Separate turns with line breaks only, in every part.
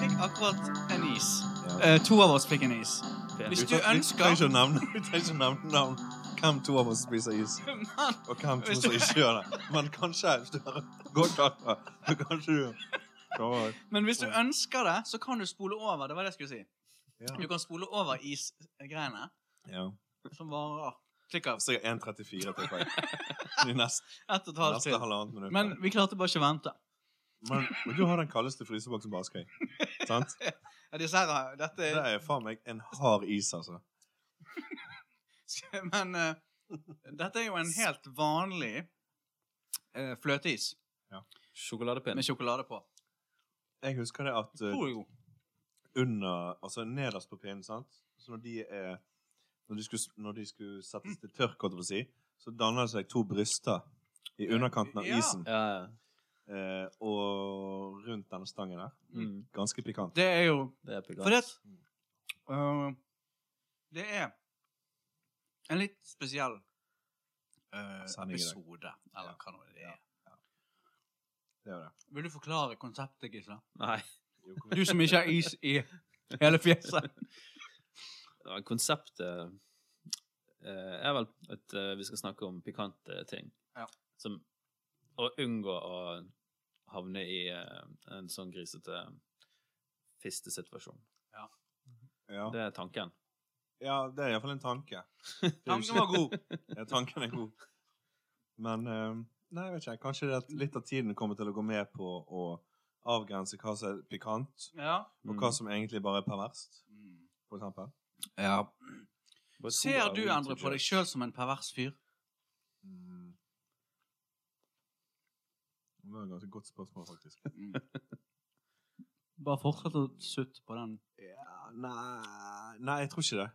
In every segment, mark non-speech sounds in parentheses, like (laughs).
akkurat en is. Eh, to av oss fikk en is. Hvis du ønsker-
Du trenger ikke
(laughs)
å nevne- (laughs) du trenger ikke å nevne navn. Hvem to av oss spiser is?
Men
Og hvem to som ikke gjør det. Men kanskje hvis du har godt alder, så (laughs) kanskje du klarer det.
Men hvis du ønsker det, så kan du spole over. Det var det jeg skulle si.
Ja.
Du kan spole over isgreiene
ja.
som varer Klikk av.
Så jeg er 1,34 til poeng. De neste,
Ett og et (laughs) halvt
neste
til.
halvannet minutt.
Men vi klarte bare ikke å vente.
men, men du har den kaldeste fryseboksen
(laughs)
på Askøy. Sant?
Ja, disse her, dette
Det
er
er faen meg en hard is, altså.
(laughs) Men eh, dette er jo en helt vanlig eh, fløteis
Sjokoladepinn.
med sjokolade på.
Jeg husker det at eh,
Tror jeg jo.
under Altså nederst på pinnen, sant? Så når de er Når de skulle, når de skulle settes til tørk, holdt jeg på å si, så danner det seg to bryster i underkanten av
Ja.
isen.
Ja, ja.
Eh, og rundt denne stangen der.
Mm.
Ganske pikant.
Det er jo
Det er pikant.
For det eh, Det er en litt spesiell eh,
Sending i dag.
episode, eller hva nå det er.
Det er det.
Vil du forklare konseptet, Gisle?
Nei.
Jo, kom igjen.
Du som ikke har is i hele fjeset.
Ja, konseptet eh, er vel at eh, vi skal snakke om pikante ting.
Ja.
Som å unngå å havne i eh, en sånn grisete fistesituasjon.
Ja.
Det er tanken.
ja, det er iallfall en
(laughs)
tanke. Det er jo
Tanken var god.
ikke- (laughs) Ja, tanken er god. Men eh, Nei, jeg vet ikke. Kanskje det at litt av tiden kommer til å gå med på å avgrense hva som er pikant,
Ja.
og
Mm.
hva som egentlig bare er perverst, for eksempel.
ja.
Bare to
Ser
av
du,
uten
Endre, på
kjøtt.
deg sjøl som en pervers fyr?
Mm. Det var et ganske godt spørsmål, faktisk.
Bare fortsett å sutte på den.
(laughs) Ja, nei Nei, jeg tror ikke det.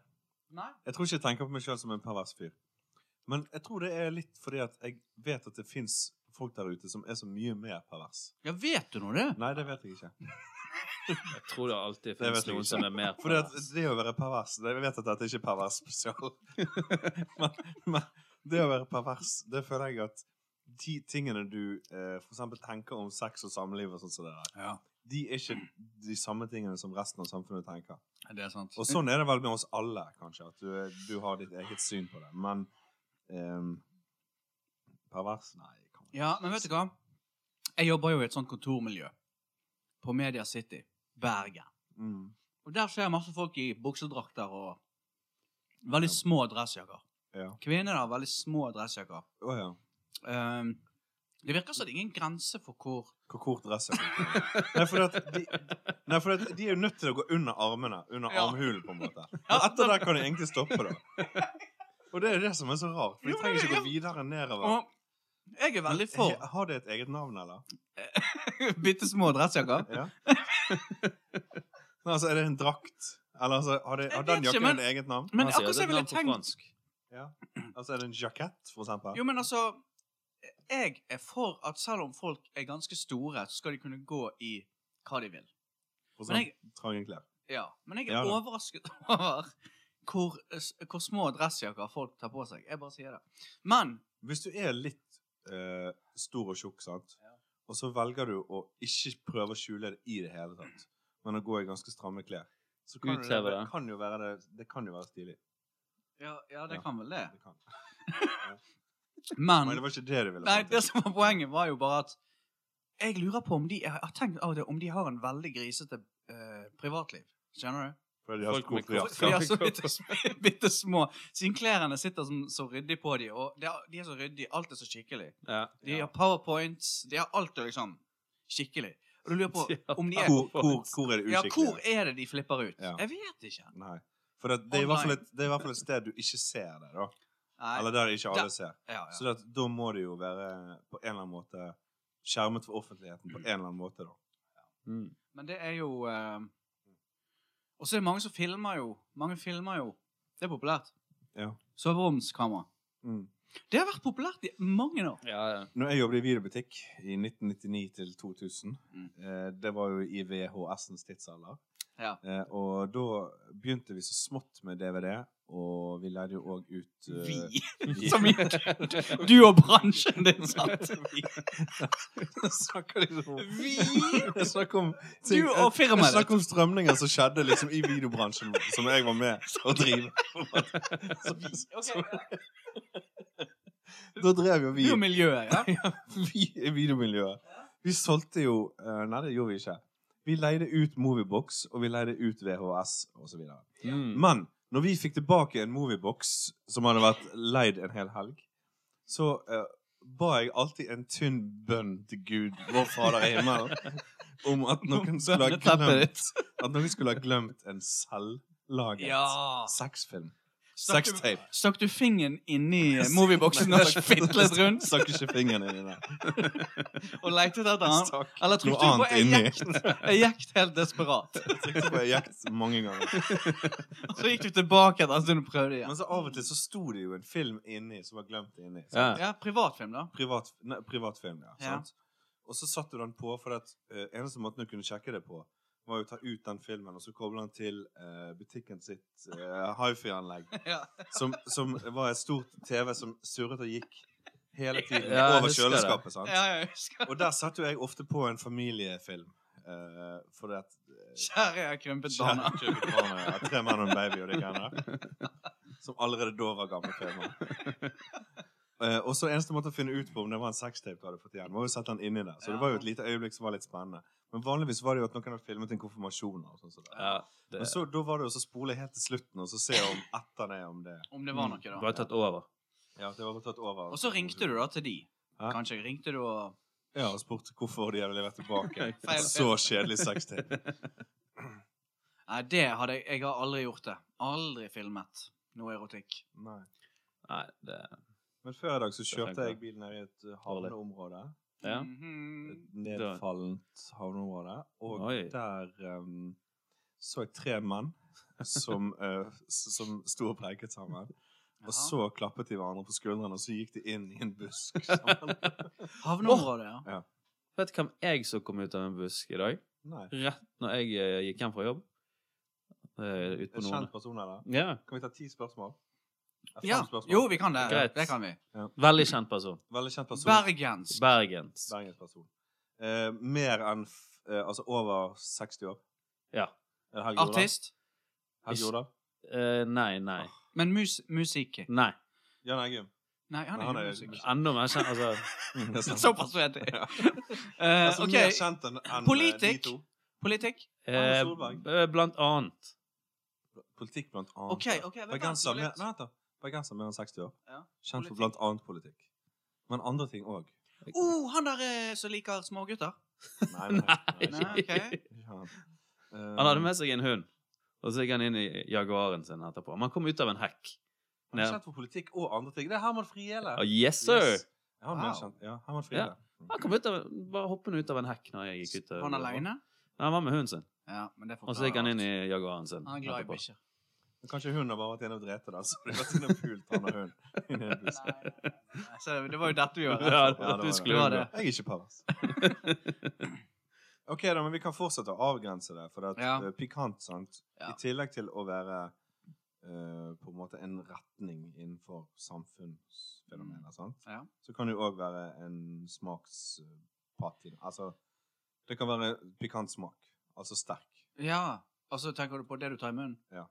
Nei.
Jeg tror ikke jeg tenker på meg sjøl som en pervers fyr. Men jeg tror det er litt fordi at jeg vet at det fins folk der ute som er så mye mer pervers.
Ja, vet du nå det?
Nei, det vet jeg ikke.
Jeg tror det alltid
Det vet
finnes
jeg
noen
ikke.
som er mer
Fordi at
pervers.
det å være pervers det, Jeg vet at dette ikke er pervers spesial, (laughs) men, men det å være pervers, det føler jeg at de tingene du eh, for eksempel tenker om sex og samliv og sånn som det der,
Ja,
de er ikke de samme tingene som resten av samfunnet tenker.
det er sant.
Og sånn er det vel med oss alle, kanskje, at du, du har ditt eget syn på det. Men ehm, pervers? Nei. kan man
Ja,
ikke
men vet
si.
du hva? Jeg jobber jo i et sånt kontormiljø på Media City, Bergen.
Mm.
Og der ser jeg masse folk i buksedrakter og veldig små dressjakker.
Ja.
Kvinner har veldig små dressjakker.
Å ja.
Um, det virker som det er ingen grense for hvor
Hvor kort dress er
(laughs)
det? Nei, for at de, nei, for at de er jo nødt til å gå under armene. Under
Ja.
armhulen, på en måte.
(laughs) Ja,
Og etter der kan de egentlig stoppe, da. Og det er det som er så rart. For
Jo,
de trenger
det-
ikke gå videre nedover.
Og jeg er veldig
(laughs)
for
Har det et eget navn, eller?
(laughs) bitte små dressjakker.
Ja. Nei, altså, er det en drakt? Eller altså, har, det,
Jeg vet
har den
ikke,
jakken
men-
et eget navn?
Men
Han sier
akkurat
det
som jeg
er
ville
navn på
tenkt
fransk.
Altså, er det en jakett, for eksempel?
Jo, men altså Jeg er for at selv om folk er ganske store, så skal de kunne gå i hva de vil.
For
Men
sånn
jeg,
trange klær.
ja, men jeg er
Ja da.
overrasket (laughs) over hvor, hvor små dressjakker folk tar på seg. Jeg bare sier det. Men
Hvis du er litt eh, stor og tjukk, sant?
Ja.
og så velger du å ikke prøve å skjule det i det hele tatt, men å gå i ganske stramme klær, så kan, jo
Utheve
det,
det.
kan jo være det, det kan jo være stilig.
Ja, ja det
Ja.
kan vel det.
Det kan.
Men
Men det var ikke det du ville
Nei,
fram til.
det som var poenget, var jo bare at jeg lurer på om de Jeg har tenkt av og til om de har en veldig grisete eh, privatliv. Skjønner du?
Fordi de har
Folk
så god
med
frihet.
kort-
For de har så bitte, (laughs) bitte små Siden klærne sitter som, så ryddig på de, og de er, de er så ryddig, alt er så skikkelig.
Ja.
De
Ja.
har powerpoints, de har alt er liksom skikkelig. Og du lurer
(laughs)
på
De har
om de er
Hvor, hvor, hvor er det
Ja,
uskikkelig?
hvor er det de flipper ut?
Ja.
Jeg vet ikke.
Nei. For det, det, er i hvert fall
Online.
et, det er i hvert fall et sted du ikke ser det, da.
Nei,
Eller der ikke alle
Der-
ser.
ja,
Så
ja.
det, at da må det jo være på en eller annen måte skjermet for offentligheten på en eller annen måte, da.
Mm.
Men det er jo eh, Og så er det mange som filmer jo. Mange filmer jo. Det er populært.
Ja.
Soveromskamera.
Mm.
Det har vært populært i mange år.
Ja,
(laughs)
ja.
Når jeg jobbet i videobutikk i 1999 til 2000,
Mm.
eh, det var jo i VHS-ens tidsalder,
Ja.
Eh, og da begynte vi så smått med DVD, og vi leide jo òg ut eh,
Vi.
(laughs) vi.
Som i
(laughs)
du og bransjen din,
(laughs)
sant?
snakker liksom om
sånn.
Vi!
Jeg snakker om ting-
Du og
jeg, jeg
firmaet ditt.
snakker om strømninger som skjedde liksom i videobransjen, som jeg var
(laughs)
med å drive.
Ok,
Da drev jo vi
Du og miljøet, ja?
vi i videomiljøet. Vi solgte jo eh, Nei, det gjorde vi ikke. Vi leide ut Moviebox, og vi leide ut VHS osv.
Mm.
Men når vi fikk tilbake en Moviebox som hadde vært leid en hel helg, så eh, ba jeg alltid en tynn bønn til Gud, vår Fader i
(laughs)
himmelen, om at noen skulle ha
Bønneteppet
glemt, at noen skulle ha glemt en selvlaget
ja.
sexfilm.
Stakk du,
Sextape.
stakk du fingeren inni movieboksen og fitlet rundt
Stakk ikke fingeren inn i
(laughs)
den.
og lekte etter den?
Stakk
Eller
noe
trykte du på
annet inni.
ejekt? Ejekt helt
(laughs)
desperat.
Jeg (laughs) trykte på eject mange ganger.
Og så gikk du tilbake etter en stund og prøvde igjen.
Men så av og til så sto det jo en film inni som var glemt inni.
Ja.
sant?
Ja, privatfilm, da. (laughs)
Privat, nei, privatfilm, ja.
Ja.
Sant? Og så satte du den på, for at eh, eneste måten du kunne sjekke det på, var jo å ta ut den filmen, og så koble den til eh, butikken sitt uh, hifi-anlegg,
(laughs)
Ja.
som, som var et stort TV som surret og gikk hele tiden
Ja, jeg
over
husker det.
kjøleskapet. sant?
Ja, jeg husker.
Og der satte jo jeg ofte på en familiefilm, uh, fordi at
Kjære, jeg har krympet barna.
Kjære Kjøpe Barna, ja. Tre menn og en baby og det greiene der.
(laughs)
Som allerede da var gamle filmer. Eh, og så Eneste måte å finne ut på om det var en sextape du hadde fått igjen, var jo å sette den inni der. Så det var jo et lite øyeblikk som var litt spennende. Men vanligvis var det jo at noen hadde filmet en konfirmasjon. og sånn som det.
Ja, det
Men så, da var det jo så spole helt til slutten og så se om etter det om det
Om det var noe, da.
Mm. Bare tatt over.
Ja, det var bare tatt over.
Og så ringte du da til de.
Hæ?
Kanskje ringte du og
Ja, og spurte hvorfor de hadde levert tilbake.
(laughs) Feil.
Så kjedelig
(laughs)
sextape.
Nei, det hadde jeg Jeg har aldri gjort det. Aldri filmet noe erotikk.
Nei.
Nei, det
Men før i dag så
tenker
kjørte
jeg.
jeg bilen ned i et eh, havneområde.
Ja.
Mhm.
et nedfallent havneområde. Og
Oi.
der um, så jeg tre menn
(laughs)
som, eh, s- som sto og preiket sammen. Og så klappet de hverandre på skuldrene, og så gikk de inn i en
(laughs)
busk sammen.
Jaha. Havneområdet, ja.
Vet du hvem jeg så kom ut av en busk i dag?
Nei.
Rett når jeg eh, gikk hjem fra jobb. Uh, (laughs) ut på
En
noen.
kjent person er det.
Ja,
Kan vi ta ti spørsmål? Eh, fem
ja.
spørsmål.
Jo, vi kan det.
Greit.
Det kan vi.
Veldig kjent person.
Veldig kjent person.
Bergens.
Bergens.
Bergensperson. Eh, mer enn f eh, Altså over 60 år.
Ja.
Er det Helge Jordal?
Artist.
Helge Jordal?
Eh, nei, nei.
Men mus musiker.
Nei.
Jan
(laughs)
Eggum.
Nei, han er
Han
ikke
er-
musiker.
Enda mer kjent,
(laughs)
altså.
Såpass vet jeg.
Ja.
(laughs) Eh,
Altså,
OK.
Mer kjent enn enn, eh,
Politikk.
de to.
Politikk.
eh,
Solberg.
b- blant annet.
Politikk blant annet.
OK. ok, vent da,
Bergenser
litt.
mer, nei, vent da. Bergenser mer enn 60 år.
Ja.
Kjent
Politikk.
for blant annet politikk. Men andre ting
(laughs)
òg.
Oh, han der eh, som liker smågutter.
Nei, nei, nei,
Nei, ok.
ikke Eh, han.
(laughs) Han hadde med seg en hund, og så gikk han inn i Jaguaren sin etterpå. Men han kom ut av en hekk.
Han er kjent for politikk og andre ting. Det er Herman Friele.
Ah, yes, sir!
Yes. Ja, han er
Wow.
kjent. Ja, Herman Friele. Mm.
Han kom ut av, bare hoppende ut av en hekk når jeg gikk ut. av-
Han aleine?
Nei, han var med hunden sin.
Ja, men det
Og så gikk han
forklarer
inn
alt.
i Jaguaren sin
Han er glad i
etterpå.
bikkjer.
Men Kanskje hun har bare vært inne og drept det, da. Så (laughs) det har vært inne og pult
(laughs)
han og hun. (laughs) Inne i en busk.
Nei, nei,
(laughs)
nei, nei. Så det var jo dette vi gjorde.
Ja,
Ja, det var
du
det.
skulle
Det var
jo det.
det.
Jeg er ikke pervers. OK, da, men vi kan fortsette å avgrense det. For det er
Ja.
eh, pikant, sant?
Ja.
I tillegg til å være eh, på en måte en retning innenfor samfunnsfenomener, sant?
Ja.
så kan det jo òg være en smakspatine. Altså Det kan være pikant smak. Altså sterk.
Ja. Og så tenker du på det du tar i munnen?
Ja.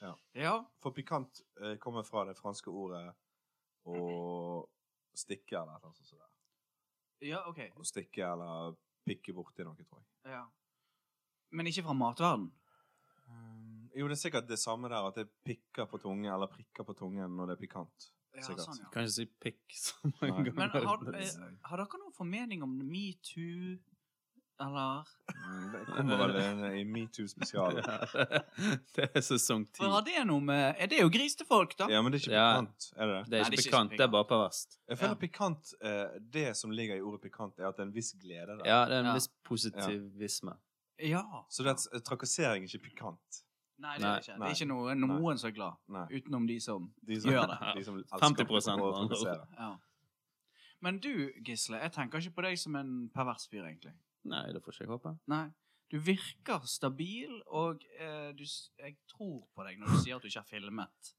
Ja.
ja.
For pikant eh, kommer fra det franske ordet å stikke eller noe sånt. som det.
Ja, OK.
Å stikke eller pikke borti noe, tror jeg.
Ja. Men ikke fra matverden.
Um, Jo, det er sikkert det samme der, at det pikker på tungen, eller prikker på tungen når det er pikant.
Ja,
Sikkert.
sånn,
(laughs)
ja.
Kan ikke si pikk så mange
Nei.
ganger.
Men har, eh, har dere noen formening om metoo, eller
(laughs) Mm, Det kommer
(laughs)
vel inn i metoo-spesialen.
Ja, (laughs) det er sesong ti.
For har det noe med Er det jo gris til folk, da?
Ja, men det er ikke
Ja.
pikant, er det det?
Det er
Nei, det er
ikke
ikke
pikant,
så
det er bare perverst.
Jeg føler
Ja.
pikant eh, Det som ligger i ordet pikant, er at det er en viss glede der.
Ja, det er en
Ja.
viss positivisme.
Ja.
Så det er, eh, trakassering er ikke pikant.
Nei, det er det ikke. Det
Nei.
er ikke noe, noen som er glad,
Nei.
utenom de som
De som,
Gjør det.
(laughs) De som elsker å
50% med andre ord.
trakassere.
Ja. Men du, Gisle, jeg tenker ikke på deg som en pervers fyr, egentlig.
Nei, det får ikke jeg håpe.
Nei. Du virker stabil, og eh, du, s- jeg tror på deg når du sier at du ikke har filmet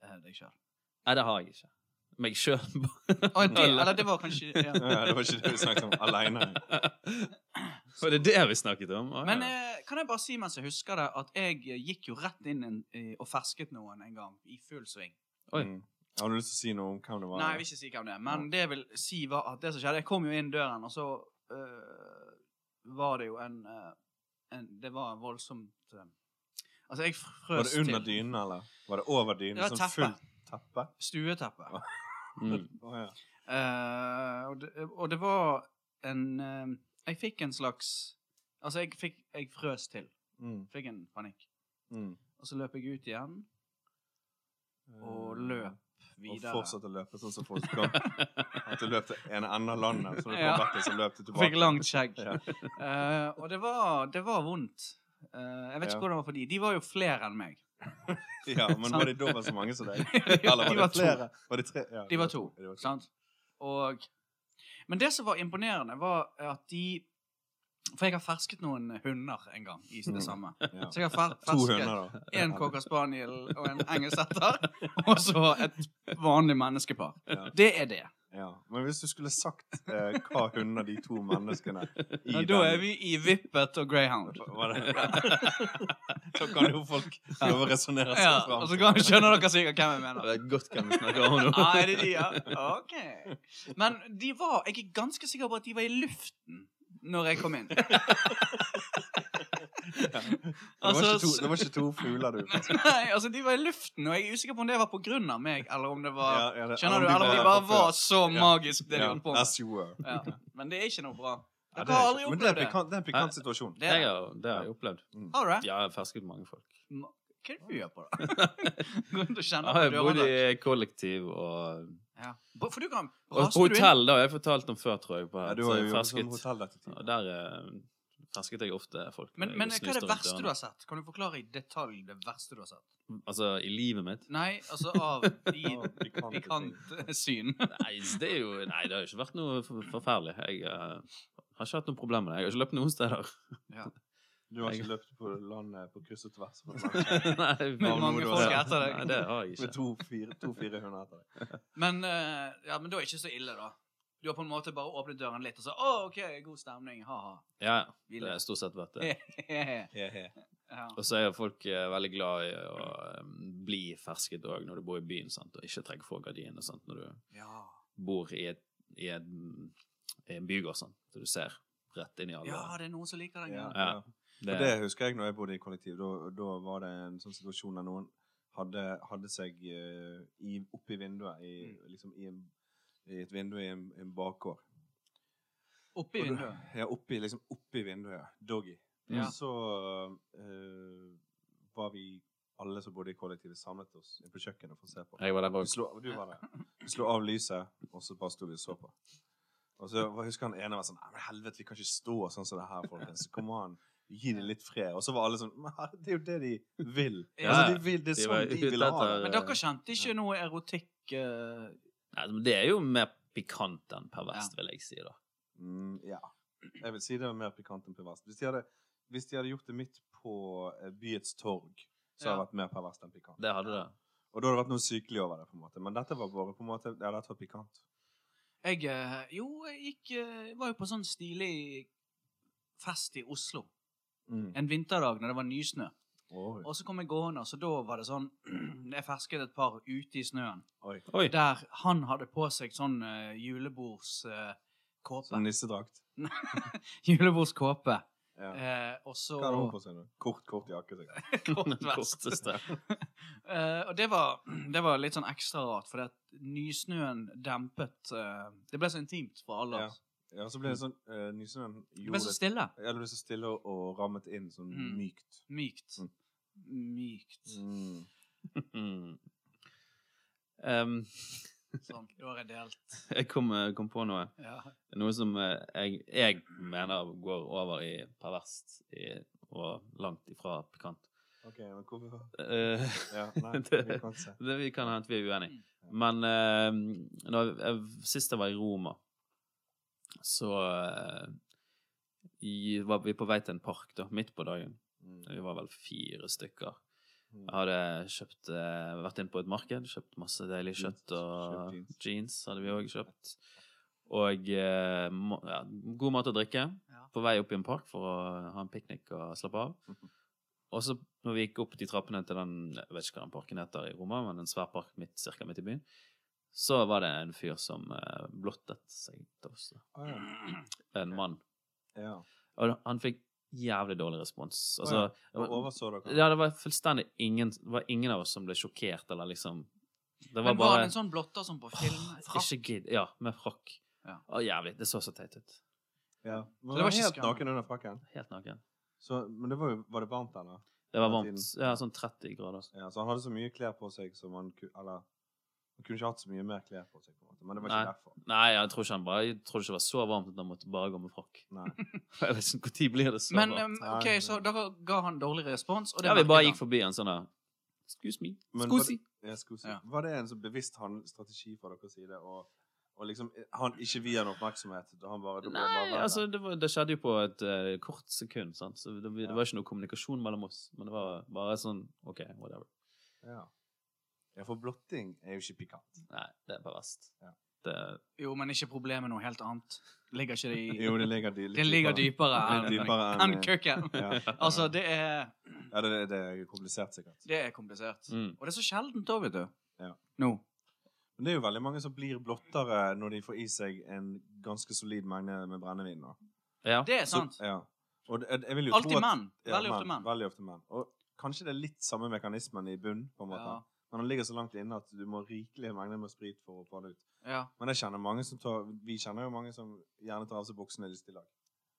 eh, deg sjøl.
Nei, det har jeg ikke. Meg (laughs) sjøl.
Å, det- Eller det var kanskje ja.
(laughs) Ja, det var ikke det vi snakket om. Aleine.
(laughs) Var det det vi snakket om? Å,
Men
ja.
eh, kan jeg bare si mens jeg husker det, at jeg eh, gikk jo rett inn en, i- og fersket noen en gang i full sving.
(laughs) Oi.
Mm. Har du lyst til å si noe om hvem det var?
Nei, jeg vil ikke si hvem det er, men det jeg vil si var at det som skjedde Jeg kom jo inn døren, og så eh, var det jo en, eh, en Det var en voldsomt eh, Altså, jeg
Var
frøs
det under
til
dynen, eller? Var det over dynen?
Det var
Sånn
teppe.
fullt teppe?
stueteppet.
Mm.
Å, ja.
Eh, og, det, og det var en eh, Jeg fikk en slags Altså, jeg fikk Jeg frøs til.
Mm,
Fikk en panikk.
mm.
Og så løp jeg ut igjen, og løp videre.
Og fortsatte å løpe sånn som folk kom. At du løp til en ende av landet, så du kom
Ja.
bakken, så løp du
Og fikk
tilbake.
langt skjegg.
(laughs) Ja.
Eh, og det var, det var vondt. Eh, jeg vet ikke
Ja.
hvordan det var for de. De var jo flere enn
(laughs)
meg.
Ja, men var de dobbelt så mange som
(laughs)
deg? Eller var
de
det
var to.
flere? Var det tre? Ja,
De var to.
De var to.
Sant? Og, men det som var imponerende, var at de For jeg har fersket noen hunder en gang i det
Mm.
samme.
Ja.
Så jeg har fer,
To
fersket
hunder, da.
en cocker spaniel og en engelsetter. (laughs) Og så et vanlig menneskepar.
Ja.
Det er det.
Ja. Men hvis du skulle sagt eh, hva hunder de to menneskene i
Og da er vi i Vippet og Greyhound.
Var det? (laughs) Da kan jo folk prøve å resonnere seg
Ja,
fram.
og så kan- skjønner dere sikkert hvem jeg mener.
Det er godt hva vi snakker om nå.
Ah, er det de, ja? Ok. Men de var, jeg er ganske sikker på at de var i luften når jeg kom
(laughs)
inn.
det, var
altså,
ikke to, det var ikke to fugler, du.
(laughs) Nei, altså de var i luften, og jeg er usikker på om det var på grunn av meg, eller om det var
Ja, ja, det-
Skjønner du?
de
Eller om de bare
fra
var
før.
så
Ja.
magisk, det de
Ja,
holdt på med.
As you were.
(laughs) Ja. Men det er ikke noe bra.
Ja,
Dere har aldri
men det
opplevd
er en
det.
pikant, det er en pikant situasjon.
Det
Jeg
er det.
har, det har jeg opplevd.
Har du det?
Jeg har fersket mange folk.
Ma- Hva er det du gjør på, da? Går rundt og
Jeg
kjenner på
har bodd
dørene?
i kollektiv og,
Ja. For du kan
og
raste du inn-
hotell. Det har jeg fortalt om før, tror jeg. På,
Ja,
at
du har
jeg
jo
fersket.
sånn hotelldetektiv.
Og der eh, fersket jeg ofte folk.
Men,
Jeg
men hva er
snuste
det
rundt
verste
dørene.
du har sett? Kan du forklare i detalj det verste du har sett?
Altså, i livet mitt?
Nei, (laughs) altså av de
Ja, pikante ting.
pikantsyn.
Nei, det, er jo, nei, det har jo ikke vært noe for- forferdelig. Jeg eh, har ikke hatt noen problemer med det. Jeg har ikke løpt noen steder. (laughs)
Du har ikke
Jeg-
løpt på landet på kryss og tvers (laughs) med,
nei,
Med
Har
mange
du
folk
også-
etter
Nei,
deg.
det har jeg
med
ikke.
to-fire to, fire hunder etter deg.
Men, eh, ja, men da er det ikke så ille, da. Du har på en måte bare åpnet døren litt og så Å, OK, god stemning. Ha-ha.
Ja,
Vi
det har
ler.
stort sett vært det.
(laughs) Ja.
Og så er jo folk eh, veldig glad i å eh, bli fersket òg når du bor i byen, sant? og ikke trekke for gardinene sant? når du
ja.
bor i, et, i, en- i en bygård, sånn, så du ser rett inn i alle
ja, det er noen som liker den.
Ja,
Ja.
ja.
Ja.
Og det husker jeg når jeg bodde i kollektiv. Da, da var det en sånn situasjon der noen hadde, hadde seg eh, i, oppi vinduet i, liksom i, en, i et vindu i en, en bakgård.
Oppi
Og du-
vinduet.
Ja, oppi, liksom oppi vinduet. Doggy.
Ja.
Og så eh, var vi alle som bodde i kollektivet, samlet oss inn på kjøkkenet for å se på.
Jeg var der
Vi
òg.
slo, du var der. Vi slo av lyset, og så bare sto vi og så på. Og så var- husker han ene var sånn «Nei, Men helvete, vi kan ikke stå sånn som det her, folkens. Kom an. Gi det litt fred. Og så var alle sånn Men herre, det er jo det de vil.
Ja,
altså, de vil det er
de var
sånn de,
ute
vil ha det.
Men dere kjente ikke noe erotikk eh,
Nei, men det er jo mer pikant enn perverst,
Ja.
vil jeg si, da.
Mm, ja. Jeg vil si det var mer pikant enn perverst. Hvis de hadde, hvis de hadde gjort det midt på eh, byets torg, så hadde det
Ja.
vært mer perverst enn pikant.
Det hadde det.
Og da hadde det vært noe sykelig over det, på en måte. Men dette var bare på en måte Ja, dette var pikant.
Jeg eh, Jo, jeg gikk eh, Var jo på sånn stilig fest i Oslo
Mm.
en vinterdag når det var nysnø.
Oi.
Og så kom jeg gående, og så da var det sånn (clears throat) Jeg fersket et par ute i snøen.
Oi.
Oi.
Der han hadde på seg sånn eh, julebordskåpe. (laughs)
Sånn nissedrakt.
julebordskåpe.
Ja.
Eh, og så
Hva hadde hun på seg nå? Kort, kort jakke, sikkert.
(laughs)
kort vest.
Korteste.
Eh, og det var, (clears throat) det var litt sånn ekstra rart, fordi at nysnøen dempet eh, Det ble så intimt for alle. altså.
Ja. Ja, så ble det sånn uh, Nysnøen
Det ble
gjorde
så stille.
Ja, det ble så stille og, og rammet inn sånn
Mm.
mykt.
Mykt.
Mm.
Mykt.
Mm.
Mm. Em, (laughs)
Sånn. Da har jeg delt.
jeg kom, eh, kom på noe.
Ja.
Noe som eh, jeg, jeg mener går over i perverst i, og langt ifra pikant.
Ok, men hvorfor
Eh,
(laughs)
Ja,
(laughs)
nei,
Det-
vi kan se.
det vi kan hende at vi er uenige.
Mm.
Men eh, da, jeg, sist jeg var i Roma, så eh, i, var vi på vei til en park da, midt på dagen.
Mm.
Vi var vel fire stykker.
Mm.
Jeg hadde kjøpt, eh, vært inn på et marked, kjøpt masse deilig
Jeans.
kjøtt og
Kjøpt jeans.
jeans. hadde vi òg kjøpt. Og eh, ma- ja, god mat og drikke.
Ja.
På vei opp i en park for å ha en piknik og slappe av. Og så når vi gikk opp de trappene til den jeg vet ikke hva den parken heter i Roma, men en svær park midt, cirka midt i byen, så var det en fyr som eh, blottet seg. til oss, da.
Å, ja.
Mm.
En mann.
ja.
Og han fikk jævlig dårlig respons. Altså,
Og overså dere?
ja, det var fullstendig ingen Det var ingen av oss som ble sjokkert, eller liksom Det var
Men var
bare
det en sånn blotter som på film? Ah.
Åh,
Fra-
Ikke gidd. Ja, med frakk.
Ja.
Å, jævlig. Det så så teit ut.
Ja. Men
Så
det var
ikke
helt
skam.
naken under frakken?
Helt naken.
Så, men det var, jo, var det varmt, eller?
Det var
Hele
varmt.
tiden.
Ja, sånn 30 grader.
Ja, så han hadde så mye klær på seg som han ku- Eller han kunne ikke hatt så mye mer klær på seg, på en måte. Men det var ikke
Nei.
derfor.
Nei, jeg tror ikke han bare Jeg tror ikke det var så varmt at han måtte bare gå med frakk. (laughs)
Nei.
Jeg vet ikke når blir det så
Men
varmt.
eh, OK, så dere ga han dårlig respons, og det
Ja, vi
merket
bare
han.
gikk forbi en sånn der Excuse me.
Men var
Scusi.
Ja, skulle si.
Ja.
Var det en sånn bevisst handel- strategi fra deres side? Og, og liksom eh, han ikke vier han oppmerksomhet? Da han bare, da ble han bare
Nei,
verre?
altså, det, var, det skjedde jo på et eh, kort sekund, sant? så det, det
Ja.
var ikke noe kommunikasjon mellom oss. Men det var bare sånn OK, whatever.
ja. ja, for blotting er jo ikke pikant.
Nei, det er perverst.
Ja.
Det,
Jo, men ikke problemet noe helt annet. Ligger ikke det i
Jo, det ligger dy- litt
Det ligger dypere
Litt
enn
dypere enn-
enn kukken.
Ja,
(laughs) Altså, det er,
ja det, det er komplisert, sikkert.
det er komplisert.
mm.
Og det er så sjeldent òg, vet du.
Ja.
Nå.
Men det er jo veldig mange som blir blottere når de får i seg en ganske solid mengde med brennevin. nå.
Ja.
Det er
Så-
sant.
Ja. Og det, jeg- jeg vil jo tro
Alltid
at-
mann.
Ja,
Veldig ofte mann.
Veldig ofte menn. Og kanskje det er litt samme mekanismen i bunnen, på en måte.
Ja.
Men han ligger så langt inne at du må rikelige mengder med sprit for å få det ut.
Ja.
Men jeg kjenner mange som tar, vi kjenner jo mange som gjerne tar av seg buksene lyst i lag.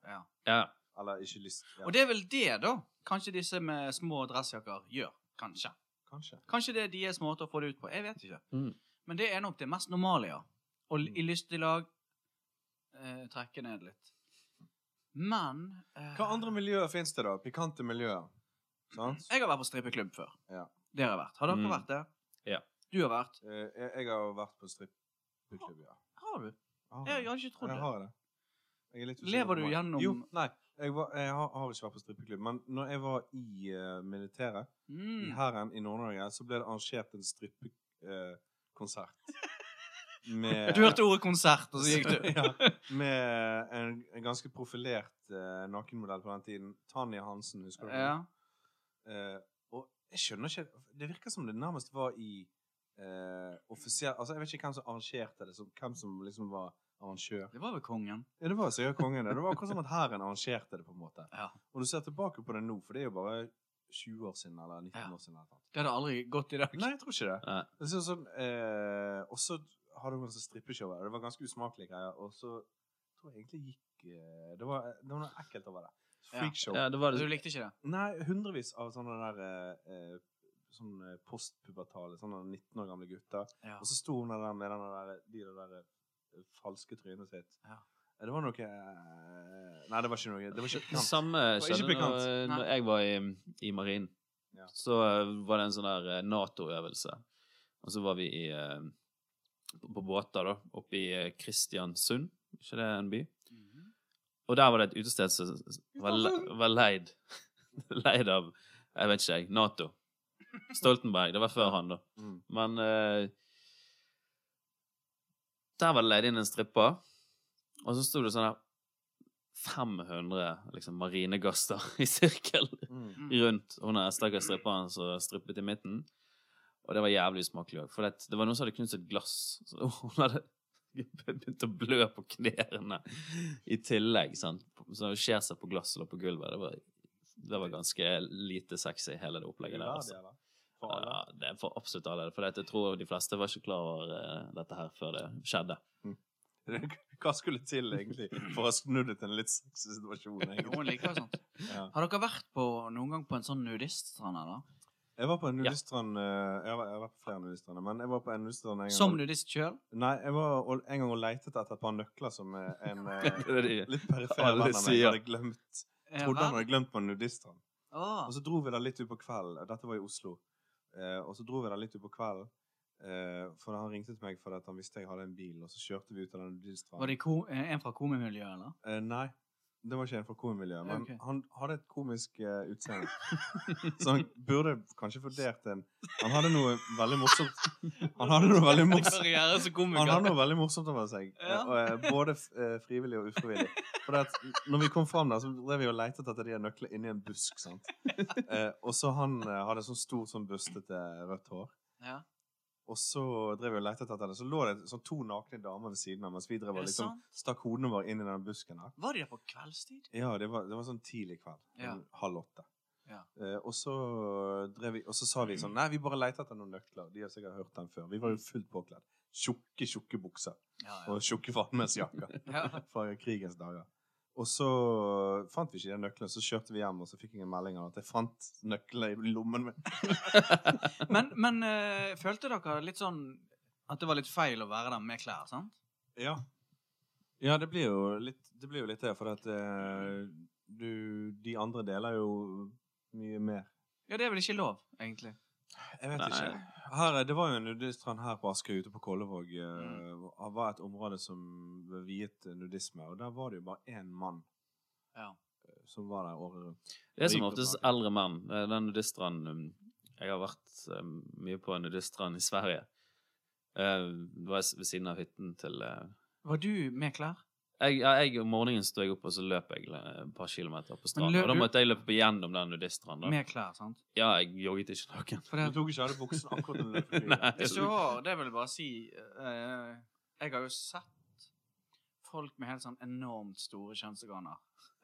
ja.
ja.
Eller ikke lyst. Ja.
Og det er vel det, da, kanskje disse med små dressjakker gjør. Kanskje.
Kanskje.
Kanskje det er deres måte å få det ut på. Jeg vet ikke.
Mm.
Men det er nok det mest normale, ja. Og
Mm.
l- i lystig lag eh, trekke ned litt. Men eh,
Hva andre miljøer finnes det, da? Pikante miljøer. Sant?
Mm, Jeg har vært på strippeklubb før.
Ja.
Det har jeg vært. Har dere
Mm.
vært det?
Ja.
Du har vært.
Eh, Jeg, jeg har vært på strippeklubb, ja.
Har du? Jeg,
Har jeg?
jeg hadde ikke trodd
Jeg
det.
har det. Jeg er litt usikker
Lever du
på meg.
gjennom-
Jo, nei. Jeg, var, jeg har, har ikke vært på strippeklubb. Men når jeg var i eh, militæret, i
Mm.
Hæren i Nord-Norge, så ble det arrangert en strippekonsert. eh,
(laughs)
Med
Du hørte ordet konsert, og så gikk du.
(laughs) ja, med en, en ganske profilert eh, nakenmodell på den tiden. Tanja Hansen, husker du?
Ja.
Eh, og jeg skjønner ikke Det virker som det nærmest var i eh, offisiell Altså, jeg vet ikke hvem som arrangerte det, så, hvem som liksom var arrangør.
Det var vel kongen.
Ja, det var sikkert kongen. Det Det var akkurat som at hæren arrangerte det, på en måte.
Ja.
Og du ser tilbake på det nå, for det er jo bare 20 år siden, eller 19
Ja.
år siden. Eller noe.
Det hadde aldri gått i dag.
Nei, jeg tror ikke det.
Nei.
det er sånn, eh, og så hadde hun sånn strippeshow, og det var ganske usmakelige greier. Og så tror jeg egentlig gikk eh, det var, det var noe ekkelt over det. Freakshow.
ja, det var
Du
det.
likte ikke det?
Nei, hundrevis av sånne der eh, eh, Sånn eh, postpubertale, sånne 19 år gamle gutter.
Ja.
Og så sto hun der med den der, de der eh, falske trynet sitt.
Ja.
Eh, Det var noe eh, Nei, det var ikke noe Det var ikke
(laughs)
Det
pikant.
samme
Det var ikke
skjedde når,
pikant.
når jeg var i, i marinen.
Ja.
Så eh, var det en sånn der eh, NATO-øvelse. Og så var vi i, eh, på på båter, da, oppe i eh, Kristiansund. Ikke det en by?
Mhm.
Og der var det et utested som var, le- var leid (laughs) Leid av Jeg vet ikke, jeg. Nato. Stoltenberg. Det var før han, da.
Mm.
Men eh, Der var det leid inn en stripper, og så sto det sånn her 500 liksom, marinegasser (laughs) i sirkel
Mm.
Mm.
rundt hun der stakkars stripperen som strippet i midten. Og det var jævlig usmakelig òg, for det, det var noen som hadde knust et glass. Så (laughs) hun hadde begynt å blø på knærne i tillegg. Sant? Så hun skjer seg på glasset og på gulvet. Det var, det var ganske lite sexy, hele det opplegget der.
Uverdig,
Altså.
eller? For alle.
Ja, det er for absolutt alle. For jeg tror de fleste var ikke klar over eh, dette her før det skjedde.
(laughs) Hva skulle til, egentlig, for å ha snudd det til en litt sexy situasjon?
(laughs)
egentlig?
Noen liker jo sånt.
Ja.
Har dere vært på, noen gang på en sånn nudiststrand, eller?
Jeg var på en
Ja.
nudiststrand eh, Jeg har jeg har vært på flere nudiststrander, men jeg var på en nudiststrand en gang
Som nudist sjøl?
Nei, jeg var og- en gang og lette etter et par nøkler som eh, en eh,
(laughs) Det er de-
litt perifer
Alle
venn av meg
sier.
hadde glemt.
Eh,
Trodde han hadde glemt på en nudiststrand. Og
Å,
så dro vi der litt ut på kvelden. Dette var i Oslo. Eh, og så dro vi der litt ut på kvelden. Eh, for han ringte til meg fordi at han visste jeg hadde en bil, og så kjørte vi ut av den
Var eh,
nudiststranden.
det ko en fra komimiljøet, eller?
Eh, nei. Det var ikke en fra komiljøet, men
Ok.
han hadde et komisk eh, utseende. (laughs) Så han burde kanskje vurdert en Han hadde noe veldig morsomt Han hadde noe
(laughs)
veldig morsomt
Karriere som komiker.
Han har noe veldig morsomt over seg,
Ja.
og, eh, både f- eh, frivillig og ufrivillig. For det at når vi kom fram der, så drev vi og letet etter de her nøklene inni en busk. sant? Eh, og så han eh, hadde sånn stort, sånn bustete rødt hår.
Ja.
Og så drev vi og letet etter det, så lå det sånn to nakne damer ved siden av mens vi drev
Er
og
det
liksom
sant?
stakk hodene våre inn i den busken her.
Var de der på kveldstid?
Ja, det var, det var sånn tidlig kveld.
Ja.
sånn Halv åtte.
Ja.
Eh, og, så drev vi, og så sa vi sånn Nei, vi bare leter etter noen nøkler. De har sikkert hørt den før. Vi var jo fullt påkledd. Tjukke, tjukke bukser
Ja, ja.
og tjukke farmesjakker
ja.
fra krigens dager. Og så fant vi ikke de nøklene, så kjørte vi hjem, og så fikk jeg en melding av at jeg fant nøklene i lommen min.
Men, men eh, følte dere litt sånn at det var litt feil å være der med klær, sant?
Ja. ja, det blir jo litt det, blir jo litt det for at eh, du De andre deler jo mye mer.
Ja, det er vel ikke lov, egentlig.
Jeg vet
Nei.
ikke. Her, er- det var jo en nudistrand her på Askøy ute på Kollevåg. eh,
Mm.
Det var et område som var viet nudisme, og der var det jo bare én mann
Ja.
eh, som var der året rundt.
Det er som
Rip
oftest
og tak.
eldre menn. Eh, Den nudiststranden um, Jeg har vært um, mye på en nudiststrand i Sverige. Eh, Det var s- ved siden av hytten til eh,
Var du med klær?
jeg, ja, jeg, Om morgenen sto jeg opp, og så løp jeg eh, et par kilometer på stranden.
løp
Og da
du-
måtte jeg løpe gjennom den nudiststranden. da.
Med klær, sant?
Ja, jeg jogget ikke
(laughs)
naken.
For
Du
det,
tok ikke av deg buksen akkurat når du løp forbi.
(laughs) Nei.
hvis du har, det vil jeg bare si eh, Jeg har jo sett folk med helt sånn enormt store kjønnsorganer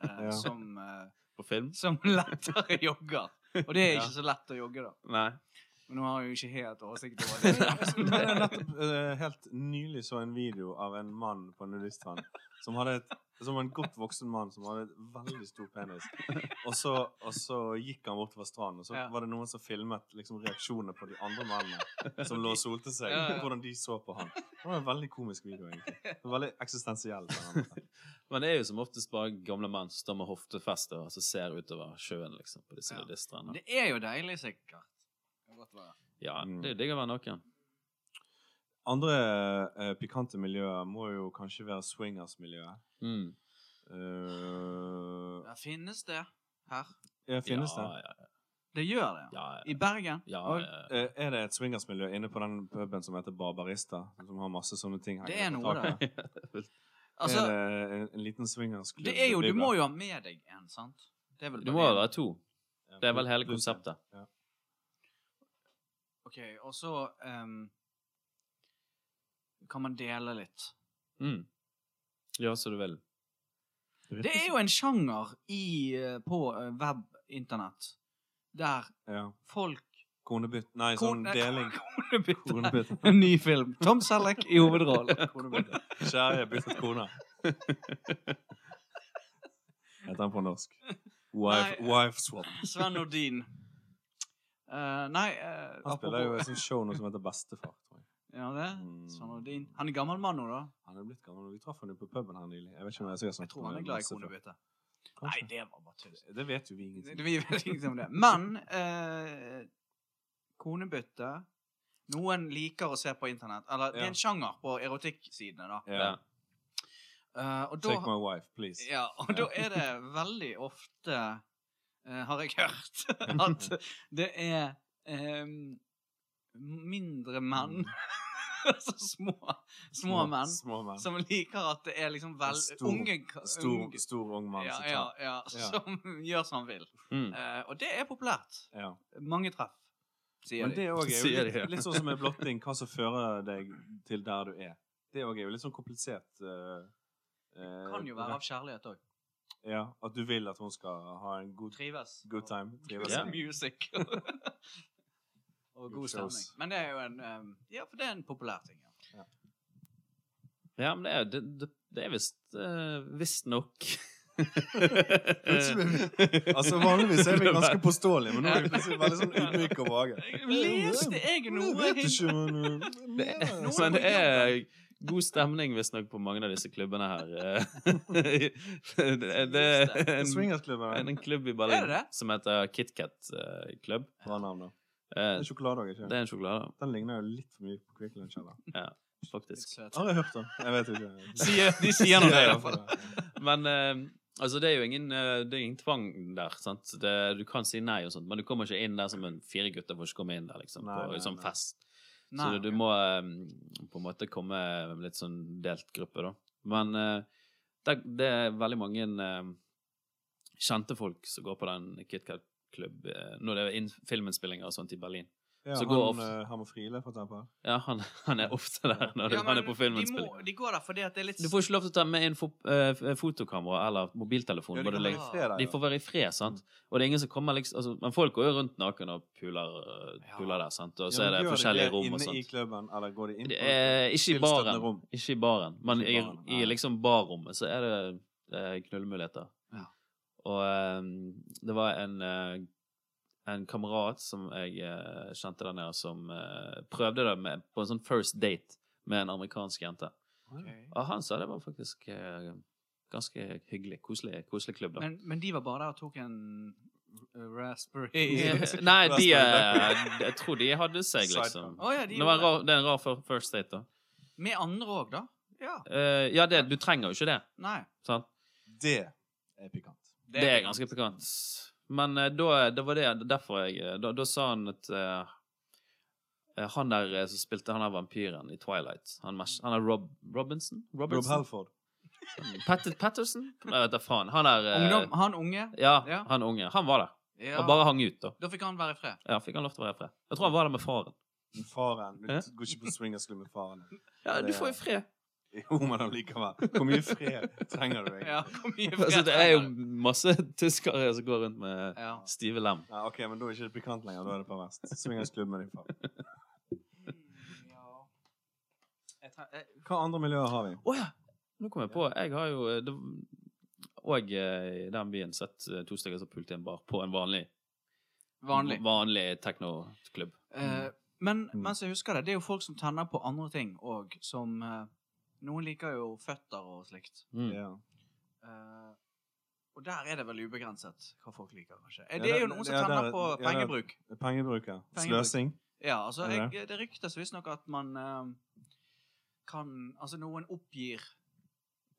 eh,
Ja.
som, eh,
På film?
som lettere jogger. Og det er
Ja.
ikke så lett å jogge, da.
Nei.
Men nå har jeg jo ikke helt oversikt over
(laughs)
det.
Men jeg nettopp, eh, helt nylig så en video av en mann på en nudiststrand som hadde et som var en godt voksen mann som hadde et veldig stor penis. Og så, og så gikk han bortover stranden, og så
Ja.
var det noen som filmet liksom, reaksjonene på de andre mennene som lå og solte seg.
Ja, ja.
Hvordan de så på han. Det var en veldig komisk video, egentlig. Veldig eksistensiell. på en eller annen måte.
Men det er jo som oftest bare gamle menn som står med hoftefest og så ser utover sjøen liksom, på disse
Ja.
nudiststrandene.
Det er jo deilig, sikkert. Det kan godt være.
Ja, det er jo digg å være naken.
Andre eh, pikante miljøer må jo kanskje være swingers-miljøet.
Mm.
Eh,
Ja, finnes det her?
ja, finnes
ja,
det?
Ja,
Det gjør det.
ja, ja.
I Bergen?
ja,
Og
ja, ja.
Eh, er det et swingersmiljø inne på den puben som heter Barbarista? Som har masse sånne ting
Det er
på
noe
taket?
Altså,
er det en, en liten swingersklubb?
det er jo Du må jo ha med deg en, sant? Det er vel
(laughs) Du
bare
må jo
en.
være to. Det er vel hele konseptet.
OK, og så ehm, kan man dele litt.
Mm. Gjør som du vil.
Det er jo en sjanger i, eh, på eh, web, internett, der
ja.
folk (laughs)
Konebytt Nei, sånn
Kone- (laughs)
deling.
Konebytte.
Konebytt.
En ny film. Tom Selleck i hovedrollen.
Konebytte. Kjære, jeg byttet
(laughs)
kone. Heter han på norsk. Wife,
Nei.
wife swap.
Sven Nordin. Eh, nei eh,
Han
apropos-
spiller jo et sånt show nå som heter Bestefar. tror jeg.
Ja, det?
Mm.
Sven Nordin. Han er gammel mann nå, da.
Han er blitt gammel. og Vi traff han jo på puben her nylig. Jeg vet ikke om jeg sikkert
Jeg
snakket
tror han
med
er glad i
masse før.
konebytte. Nei,
Kanskje.
det var bare tull.
Det vet jo vi
Det-
ingenting om.
Vi vet ingenting om det. Men eh, konebytte Noen liker å se på internett. Eller det er en sjanger på erotikksidene, da.
Ja.
Eh, og
Take
da,
my wife, please.
ja, og da er det veldig ofte, eh, har jeg
(laughs)
hørt, at det er eh, mindre menn (laughs) Altså små, små menn
Mm. Små menn.
som liker at det er liksom vel,
Stor-
unge ka-
Stor,
unge-
stor ung mann
Um, ja,
som
ja,
tar
ja,
(laughs) Ja.
som gjør som han vil.
Mm.
Eh, og det er populært.
Ja.
Mange treff, sier
Men det
de.
er også er jo
Sier de, ja.
litt, litt sånn som med blotting, hva som fører deg til der du er. Det også er jo litt sånn komplisert. eh, eh,
Kan jo være av kjærlighet òg.
Ja, At du vil at hun skal ha en god,
Trives.
good time.
Good
Trives.
Ja.
(laughs)
(laughs)
music. og god
Good shows.
stemning. Men det er jo en eh, Ja, for det er en populær ting. Ja.
Ja, men det er, det, det, det er visst uh, visstnok (laughs)
Altså Vanligvis er vi ganske påståelige, men nå er vi plutselig veldig sånn ydmyke og vage.
Jeg Leste jeg
Jeg
noe
vet ikke, men
Det er, men det er god stemning visstnok på mange av disse klubbene her. (laughs) Eh, det er- det er en,
Swingersklubben er
en, en klubb i
Er det
Berlin
det?
som heter KitKat-klubb.
bra navn, da. Det
Eh,
er sjokolade også,
det
ikke
er en sjokolade,
Den ligner jo litt for mye på Quick Lunch. eller?
faktisk.
Har jeg hørt den? Jeg vet ikke.
(laughs) Sier, de sier noe, i hvert fall.
fall.
Men eh, Altså, det er jo ingen, eh, det er ingen tvang der, sant? Det, du kan si nei og sånt, men du kommer ikke inn der som en fire gutter får ikke komme inn der, liksom,
Nei,
på
nei,
en sånn
nei.
fest.
Nei,
så du, du må eh, på en måte komme litt sånn delt gruppe, da. Men eh, det, det er veldig mange eh, kjente folk som går på den KitKat-klubb eh, når det er inn- filminnspillinger og sånt i Berlin.
Ja,
Så
han,
går
går
ofte-
Hammer Friele, for eksempel.
Ja, han, han er ofte der når
Ja,
han
men
er på
de,
filminnspilling.
må, de går der fordi at det er litt
Du får ikke lov til å ta med inn fo eh, f- fotokamera eller mobiltelefon.
Ja,
hvor
de
det
kommer i
ligger-
fredag,
de
ja.
får være i fred, sant? Og det er ingen som kommer liksom altså, Men folk går jo rundt naken og puler, eh,
Ja.
puler der, sant? Og
Ja,
så
men
er det
gjør de
forskjellige
det
rom og
inne i
sånt.
klubben, eller går de inn
Det
på
er ikke i
tilstøtende
baren.
rom?
Ikke i baren. Men
Ikke i
i,
baren,
i
nei.
liksom barrommet så er det eh, knullemuligheter.
Ja.
Og eh, det var en eh, en kamerat som jeg eh, kjente der nede, som eh, prøvde det med, på en sånn first date med en amerikansk jente.
Ok.
Ja, han sa det var faktisk eh, ganske hyggelig. Koselig, koselig
(laughs)
klubb, da.
men, men de var bare der og tok en r- raspberry
Eh, Nei, de eh, Jeg tror de hadde seg,
(laughs)
liksom.
Å ja, de
Det, var en
gjorde
rar, det er en rar fir- first date, da.
det. Med andre òg, da? Ja.
Eh, ja, det, du trenger jo ikke det.
Nei.
Sant?
Det er pikant.
Det er ganske pikant. Men eh, da, det var det derfor jeg eh, Da, da sa han at eh, eh, han der eh, som spilte han der vampyren i Twilight Han, mas- han er Rob Robinson?
Rob
Robinson?
Halford.
(laughs) Pat Patterson? Nei, vet da faen. Han der eh,
Ungdom, han unge?
Ja,
Ja.
han unge. Han var der.
Ja.
Og bare hang ut, da.
Da fikk han være i fred.
Ja, fikk han lov til å være i fred. Jeg tror han var der med faren.
Faren. Du
Hæ?
går ikke på swingersklubb med faren.
Ja,
Det
du
er-
får jo fred.
Jo, men allikevel. Hvor mye fred trenger du egentlig?
Ja, hvor mye fred
(laughs) (laughs) Altså, det er jo
trenger du?
masse tyskere som går rundt med (laughs)
ja.
stive lem.
Ja, ok, men da er ikke det pikant lenger. Da er det perverst. Swingersklubb med din far.
Ja. Jeg tre- jeg-
Hva andre miljøer har vi?
Å ja! Nå kom jeg på. Jeg har jo eh, det, Og eh, i den byen sett eh, to stykker som pulte i en bar på en vanlig
Vanlig.
vanlig teknoklubb.
Eh, men
Mm.
mens jeg husker det, det er jo folk som tenner på andre ting òg, som eh, Noen liker jo føtter og slikt.
Mm. (laughs)
Ja.
Eh, og der er det vel ubegrenset hva folk liker, kanskje. Eh,
Ja,
det er jo
der-
noen som
ja,
tenner
der-
på
ja, der-
pengebruk.
Pengebruker.
Pengebruk.
Sløsing.
Ja, altså,
Er det
jeg, det ryktes visstnok at man eh, kan Altså, noen oppgir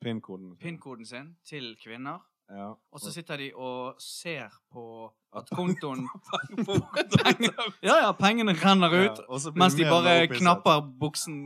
Pinnkoden.
pinnkoden sin til kvinner,
Ja.
og så sitter de og ser på at kontoen
(laughs)
(laughs) Ja, ja, pengene renner ut,
Ja, og så blir
mens
du
de
mer og mer
bare
opphisset.
knapper buksen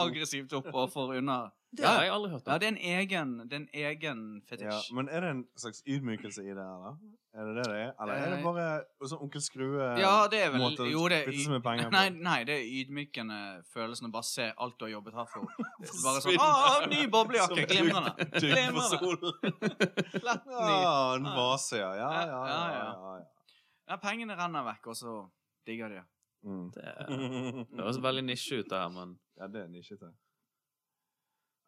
aggressivt opp og får unna.
Det har jeg aldri hørt om.
Ja, det er en egen, det er en egen
Ja,
fetisj.
men er det en slags ydmykelse i det, eller? Er det det det er? Eller er det
Eh,
bare sånn Onkel Skrue
Ja, det er vel
måte å
Jo, det er
spytte så mye
(laughs)
penger på?
Nei, nei, det er ydmykende følelsen å bare se alt du har jobbet hardt
(laughs)
for. Bare sånn
Forsvinner.
ah, Ny boblejakke!
Som
Glimrende!
tygg- tygg på
Glimrende.
solen.
Lett ny.
Ja, en vase, ja. Ja, ja, ja.
Ja,
ja,
ja.
ja,
Ja, pengene renner vekk, og så digger de det.
Mm.
Det er- (laughs) det
(laughs)
høres veldig nisje ut, det her, men
ja det er nisjete.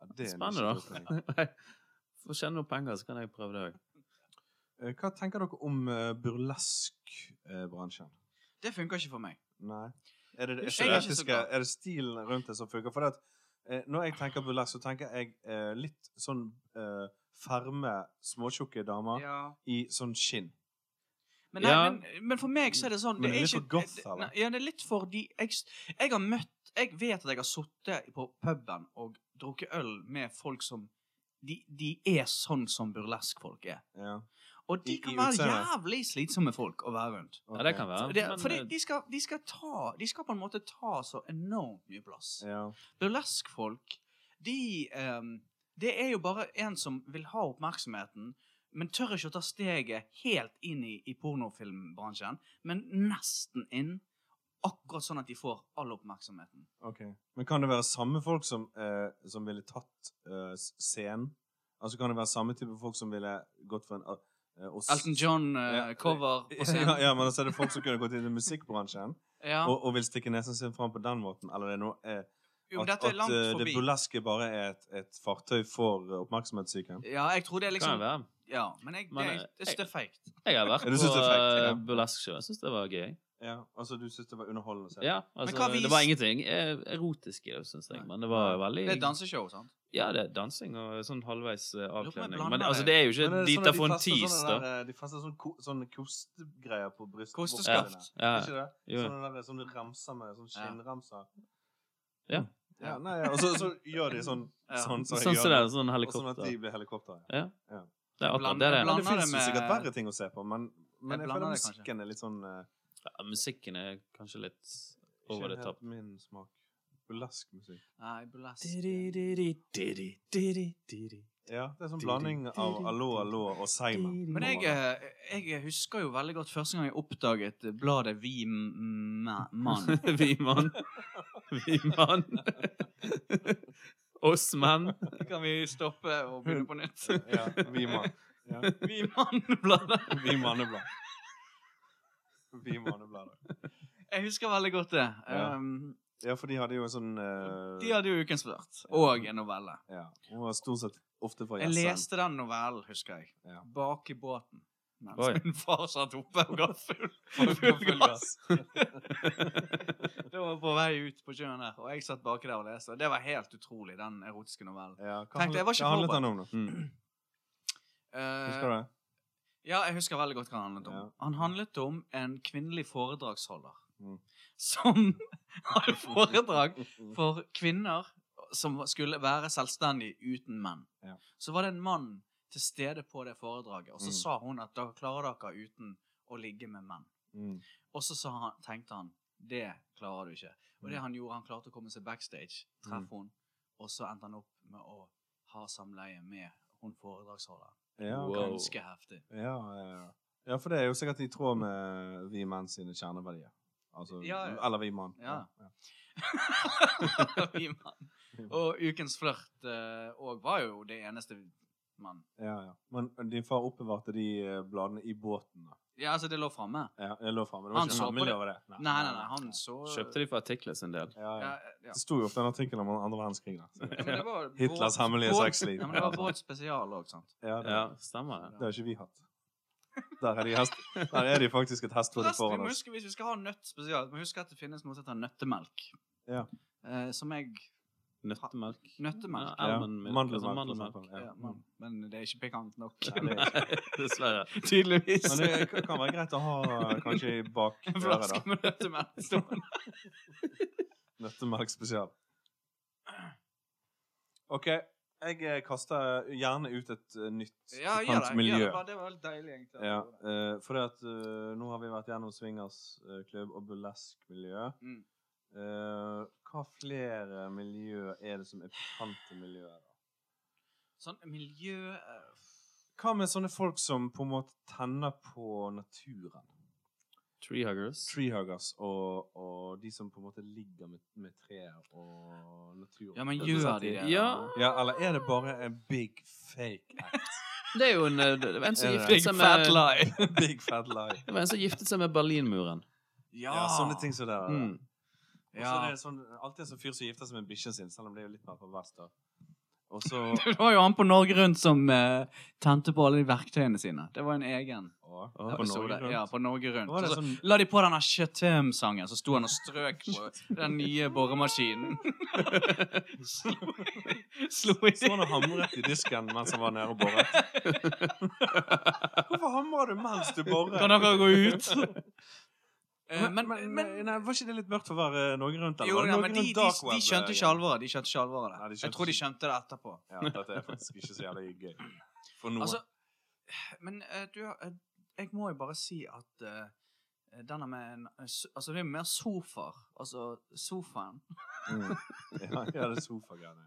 Ja, det er
Spennende,
nisjete,
da. (laughs)
tenker jeg.
Få tjene noen penger, så kan jeg prøve det òg.
Eh, Hva tenker dere om eh, burlesk-bransjen?
Det funker ikke for meg.
Nei. Er det, det
Jeg er ikke så
estetiske,
glad.
er det stilen rundt det som funker? For det at, eh, når jeg tenker burlesk, så tenker jeg eh, litt sånn eh, ferme, småtjukke damer
Ja.
i sånn skinn.
Men, nei,
Ja.
men, men for meg så er det sånn
Men
det er
litt
ikke,
for goth, eller?
Nei, Ja, det er litt for de jeg, s- jeg har møtt Jeg vet at jeg har sittet på puben og drukket øl med folk som De, de er sånn som burleskfolk er.
Ja.
Og de
I-
kan
i
være
utseendet.
jævlig slitsomme folk å være rundt.
Ja, det
ok.
kan være.
Det,
men,
fordi
eh,
de skal, de skal ta De skal på en måte ta så enormt mye plass.
Ja.
Burleskfolk, de eh, Det er jo bare en som vil ha oppmerksomheten, men tør ikke å ta steget helt inn i, i pornofilmbransjen, men nesten inn. Akkurat sånn at de får all oppmerksomheten.
Ok. Men kan det være samme folk som, eh, som ville tatt eh, s- scenen? Altså kan det være samme type folk som ville gått for en eh, oss-
Elton
(laughs) Ja.
John-cover på
(laughs) Ja,
scenen.
ja, men altså er det folk som kunne gått inn i musikkbransjen
(laughs) Ja.
og, og vil stikke nesen sin fram på den måten? Eller er det noe eh,
Jo, men
at,
dette er
at
langt
eh, det
forbi.
burleske bare er et, et fartøy for eh, oppmerksomhetssyken?
Ja, jeg tror det er
kan
liksom
det være.
Ja, men jeg, det,
Men,
er-
eh,
jeg synes det er feigt.
Jeg har vært
Ja, du synes
på
det er frekt,
eh,
ja.
burlesque-show. Jeg syns det var gøy.
Ja, altså du syns det var underholdende? å se?
Ja, altså,
hva vis-
Det var ingenting eh, erotisk i det, syns jeg,
Nei.
men det var veldig
Det er et danseshow, sant?
Ja, det er dansing og sånn halvveis eh,
om jeg
avkledning.
blander
Men altså,
det.
det er jo ikke
Men er det sånn
Dita
at de
von
fester
Teese,
sånne
da.
der, eh, De fester sånne, ko sånne kostegreier på brystet.
Kosteskaft.
Ja.
Ikke sånn det?
Jo.
Sånne der, sånne ramser med sånn
Eh, Ja.
skinnramser.
Ja.
Ja, nei, ja, og så, så gjør de sånn
Ja.
Sånn som
Sånn
jeg
som det
gjør.
er,
Og
sånn
sånn at
helikopter.
de blir helikopter. Ja.
Ja.
Ja.
Det er akkurat
Bland-
det det
Ja,
er.
bland-
det
blander
fins
det
jo sikkert
med-
verre ting å se på, men, men
Jeg
jeg,
blander
føler
det kanskje.
musikken er litt sånn eh,
Ja, musikken er kanskje litt
Ikke
over det
helt (laughs)
topp.
min smak. Burlesk musikk.
Nei, burlesk. eh.
Ja, det er sånn blanding av Allo Allo og Seima.
Men jeg, eh, jeg husker jo veldig godt første gang jeg oppdaget eh, bladet Vi M- Ma-
(laughs)
Mann.
Vi mann. (laughs) Vi mann. Oss menn.
Kan vi stoppe og begynne på nytt?
(laughs) Ja, vi mann. Ja.
Vi Mann-bladet.
Vi
(laughs)
manneblad. Vi manneblader.
Jeg husker veldig godt det.
Ja.
Um,
Ja, for de hadde jo en sånn eh,
de hadde jo Ukens flørt og en novelle.
ja. Hun var stort sett ofte fra
Jeg
Jessheim. (laughs)
leste den novellen, husker jeg.
Ja.
Bak i båten. Mens
Oi.
min far satt oppe og ga
(laughs)
full, full gass. (laughs) Det var på vei ut på sjøen der, og jeg satt baki der og leste. Det var helt utrolig, den erotiske novellen.
Ja, hva
Tenkte, jeg
handlet-
var ikke
hva handlet
forberedt.
den om, da?
Mm.
Eh,
Husker
(laughs)
du det?
Ja, jeg husker veldig godt hva han handlet om.
Ja.
Han handlet om en kvinnelig foredragsholder
Mm.
som (laughs) hadde foredrag for kvinner som skulle være selvstendig uten menn.
Ja.
Så var det en mann til stede på det foredraget, og så
Mm.
sa hun at dere klarer dere uten å ligge med menn.
Mm.
Og så sa han, tenkte han det klarer du ikke. Og det
Mm.
han gjorde, han klarte å komme seg backstage, treffe hun, og så endte han opp med å ha samleie med hun foredragsholderen.
Ja,
Wow.
Ganske heftig.
ja, ja, ja. ja, for det er jo sikkert i tråd med vi menn sine kjerneverdier. Altså,
Ja, ja.
Eller vi mann.
Ja. (laughs) Vi mann. og Ukens flørt eh, og var jo det eneste mann.
ja, ja. Men din far oppbevarte de eh, bladene i båten. da.
Ja, altså, det lå framme.
Ja, jeg lå fremme. Det
Han
var
så
ikke
på
hemmelig
det.
over det.
Nei, nei, nei, han så
Kjøpte de for artikler sin del.
Ja, ja.
ja, ja.
Det sto jo ofte en artikkel om andre verdenskrig. da. Så-
Men det var
(laughs) Hitlers
vårt-
hemmelige
vårt-
sexliv.
Ja, men det var vårt spesial òg, sant.
Ja, det,
Ja, stemmer det.
det har ikke vi hatt. Der er de, hest, der er de faktisk et hestehode
Forresten, vi
foran
må
oss.
huske, hvis vi skal ha nøtt spesial, må vi huske at det finnes noe som heter nøttemelk.
Ja.
Eh, som jeg
Nøttemelk.
Nøttemelk.
Ja,
Ja,
almondmilk, altså
Mandelmelk, for
mandelmelk.
eksempel.
ja,
Ja.
men, men det er ikke pikant nok.
Nei,
(laughs)
det er ikke- (laughs)
Dessverre.
Tydeligvis.
Men det kan- kan være greit å ha eh, kanskje i bak
(laughs) En
øret, da. Sånn
flaske med
(laughs)
nøttemelk stående.
Nøttemelk spesial. OK. Jeg eh, kaster gjerne ut et eh,
Ja,
nytt
gjør det.
pikant
Gjør
miljø.
det, bare. det var litt deilig, egentlig.
Ja, eh, for det at eh, nå har vi vært gjennom swingersklubb og burlesk-miljø.
Mm.
Eh, hva flere miljø er det som er pikante miljøer? da?
Sånn miljø eh,
Hva med sånne folk som på en måte tenner på naturen?
Tree huggers.
Treehuggers og, og de som på en måte ligger med, med trær og naturen.
Ja, men
På en
gjør
måte.
de det?
Ja.
Ja, eller er det bare en big fake
(laughs)
act?
Det er jo en, eh, det var en som
Er det?
giftet
Big
seg
fat
med
lie.
big fat lie.
Det var en som giftet seg med Berlinmuren.
(laughs) Ja, sånne ting som det der.
(laughs) Mm.
Og så er det sånn, alltid en sånn fyr som gifter seg med bikkjen sin, selv om det er jo litt mer perverst da. Og så...
(laughs) Det var jo han på Norge Rundt som eh, tente på alle de verktøyene sine. Det var en egen
Å,
På
episode. Ja, på Norge Rundt.
Nå var det
Så-
sånn,
La de på denne Chatem-sangen, så sto han og strøk på den nye
(laughs)
boremaskinen. Slo i- Slo i
så han og hamret i disken mens han var nede
(laughs)
og borret. Hvorfor hamrer du mens du borrer?
Kan dere gå ut?
(laughs)
Eh,
Men, men, nei, var ikke det litt mørkt for å være Norge Rundt? eller
jo,
var det
ja,
Norge
men de, de,
Rundt Dark
de
Web,
skjønte ikke
eh,
alvoret. De skjønte ikke alvoret
Nei, de
der.
skjønte
Jeg tror de
ikke-
skjønte det etterpå.
Ja, dette er faktisk ikke så jævlig gøy. For noen.
Altså, (sighs) men eh, du eh, Jeg må jo bare si at eh, denne med en Altså, det er jo mer sofaer. Altså sofaen. (laughs)
Mm. Ja, ja, det er sofagreiene.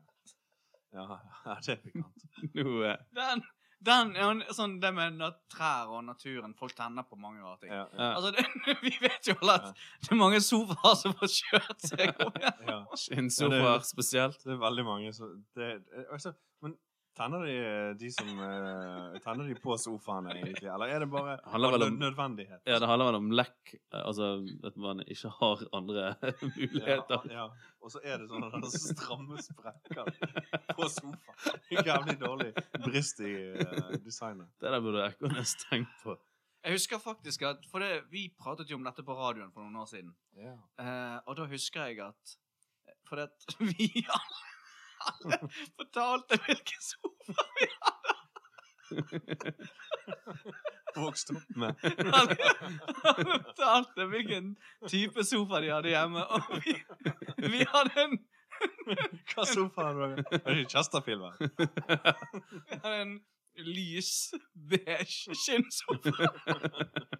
Ja, ja, det er pikant.
Nå, eh,
Den, den ja, men sånn det med na- trær og naturen. Folk tenner på mange rare ting.
Ja, ja,
ja,
Altså, det, (laughs) vi vet jo alle at det er mange sofaer som har kjørt seg opp igjen. (laughs)
Altså, ja.
Skinnsofaer spesielt.
Det er veldig mange som det, eh, altså, Men tenner de, de som eh, Tenner de på sofaene, egentlig? Eller er det bare
Handler vel
av
om-
nødvendighet?
Ja, det handler vel om lekk. eh, Altså at man ikke har andre (laughs) muligheter.
Ja, ja. Og så er det sånne der stramme sprekker på sofaen. Jævlig dårlig brist i eh, designet.
Det der burde Ekornes tenkt på.
Jeg husker faktisk at For det, vi pratet jo om dette på radioen for noen år siden.
Ja.
Eh, og da husker jeg at eh, For det, at (laughs) vi alle fortalte hvilken sofa vi
Vokst opp med.
hadde. Alle fortalte hvilken type sofa de hadde hjemme. Og vi, vi hadde en,
Hva sofa har du? Er det ikke Chesterfield, vel?
vi hadde en lys, beige skinnsofa.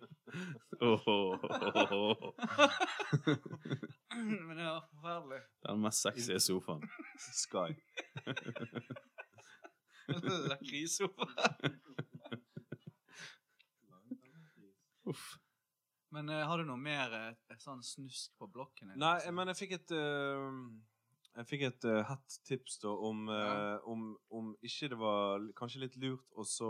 Mm, Men det var forferdelig.
Den mest sexy sofaen.
Sky.
Lakrissofa.
Uff.
Men eh, har du noe mer eh, sånn snusk på blokken? eller?
Nei, men jeg fikk et eh, Jeg fikk et eh, hett tips da om, eh,
Ja.
om, om ikke det var l- kanskje litt lurt å så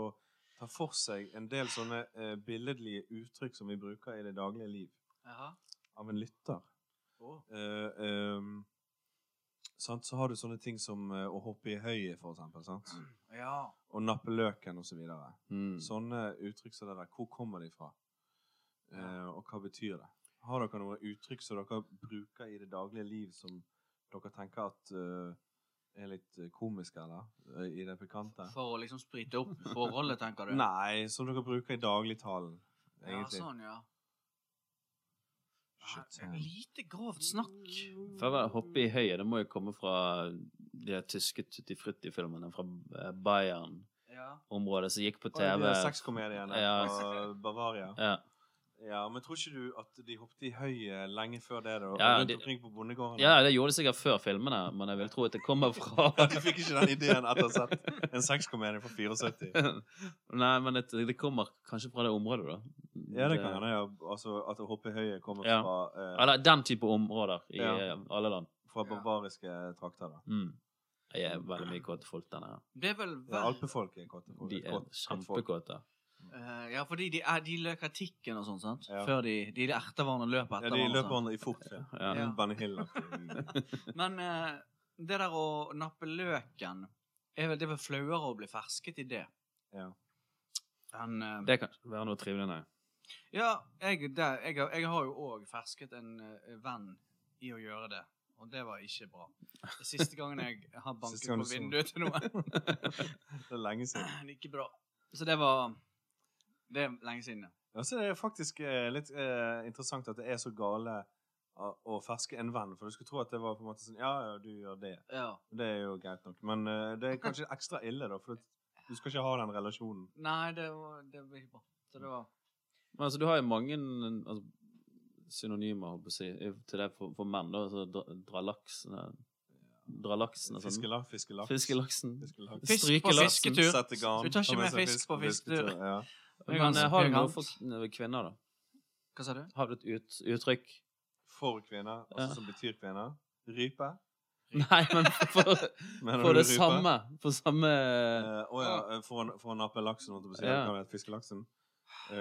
ta for seg en del sånne eh, billedlige uttrykk som vi bruker i det daglige liv,
sånn? Jaha.
av en lytter.
Å.
Eh, ehm, sant? Så har du sånne ting som eh, å hoppe i høyet, for eksempel. Sant?
Ja.
Og nappe løken, og så videre.
Mm.
Sånne uttrykk som det der, hvor kommer de fra? Eh,
Ja.
og hva betyr det? Har dere noen uttrykk som dere bruker i det daglige liv som dere tenker at eh, er litt eh, komiske, eller? Eh, I det pikante?
For å liksom sprite opp forholdet, tenker du?
Nei, som dere bruker i dagligtalen,
Ja,
egentlig.
sånn, ja.
Shit,
Nei,
sånn.
Lite grovt snakk.
For å hoppe i høyet, det må jo komme fra de der tyske Tutti Frutti-filmene fra eh, Bayern-området
Ja.
som gikk på
Og de
TV.
der sexkomediene
Ja.
fra Bavaria.
Ja.
Ja, men tror ikke du at de hoppet i høyet lenge før det, da?
Ja,
rundt
de-
omkring på bondegården?
ja, det gjorde det sikkert før filmene, men jeg vil tro at det
(laughs)
kommer fra
Du fikk ikke den ideen etter å ha sett en sexkomedie fra 74?
(laughs) Nei, men det, det kommer kanskje fra det området, da.
Ja, det kan hende. Ja. Altså, at å hoppe i høyet kommer
Ja.
fra, eh,
Eller den type områder i
Ja.
eh, alle land.
fra
Ja.
barbariske trakter. da.
Mm. Jeg er veldig mye kåte folk, denne.
Det er vel
Ja,
vel
Alpefolk er kåte folk.
De er
Kåt- kåtfolk.
kjempekåte.
Eh, Ja, fordi de, er, de løker tikken og sånn, sant?
Ja.
Før de, de erter hverandre og løper
Ja,
etter
de
hverandre.
løper
og
hverandre i fortfilm.
Ja.
altså. Ja.
Bunny Hill-aktig.
sånn. Men eh, det der å nappe løken er vel, Det er vel flauere å bli fersket i det
Ja.
enn eh,
Det kan være noe trivelig, nei.
Ja, jeg, det, jeg, har- jeg har jo òg fersket en eh, venn i å gjøre det. Og det var ikke bra. Det Siste gangen jeg har banket
Siste gang
på
du så.
vinduet til noen.
(laughs) Det er lenge siden.
Det er ikke bra. Så det var Det er lenge siden, ja.
Ja, så er det faktisk eh, litt eh, interessant at det er så gale å- å ferske en venn. For du skulle tro at det var på en måte sånn Ja, ja, du gjør det.
ja.
Det er jo greit nok. Men eh, det er kanskje ekstra ille, da. For du skal ikke ha den relasjonen.
Nei, det var, det var ikke bra. Så det var
Men altså, du har jo mange altså, synonymer, holdt på å si, i- til det for, for menn, da. Altså, dra, dra laksen eh, Dra laksen og sånn.
Fiskelaks. Fiskelaks.
Fiskelaksen.
Fiskelaks.
Fisk på
Strykelaksen.
fisketur.
Sette garn.
Du tar ikke
Ta med
med
seg
fisk på fisketur.
Ja.
Men eh, har du noe
Elegant.
for kn- kvinner, da?
Hva sa du?
Har du et ut, uttrykk?
for kvinner, altså
Ja.
som betyr kvinner. Rype.
Nei, men
(laughs)
for,
Mener
for
du
det
rype?
samme. For samme
Eh, å ja, eh, for, å, for å nappe laksen, holdt jeg på å si.
Ja.
Det kan være fiskelaksen.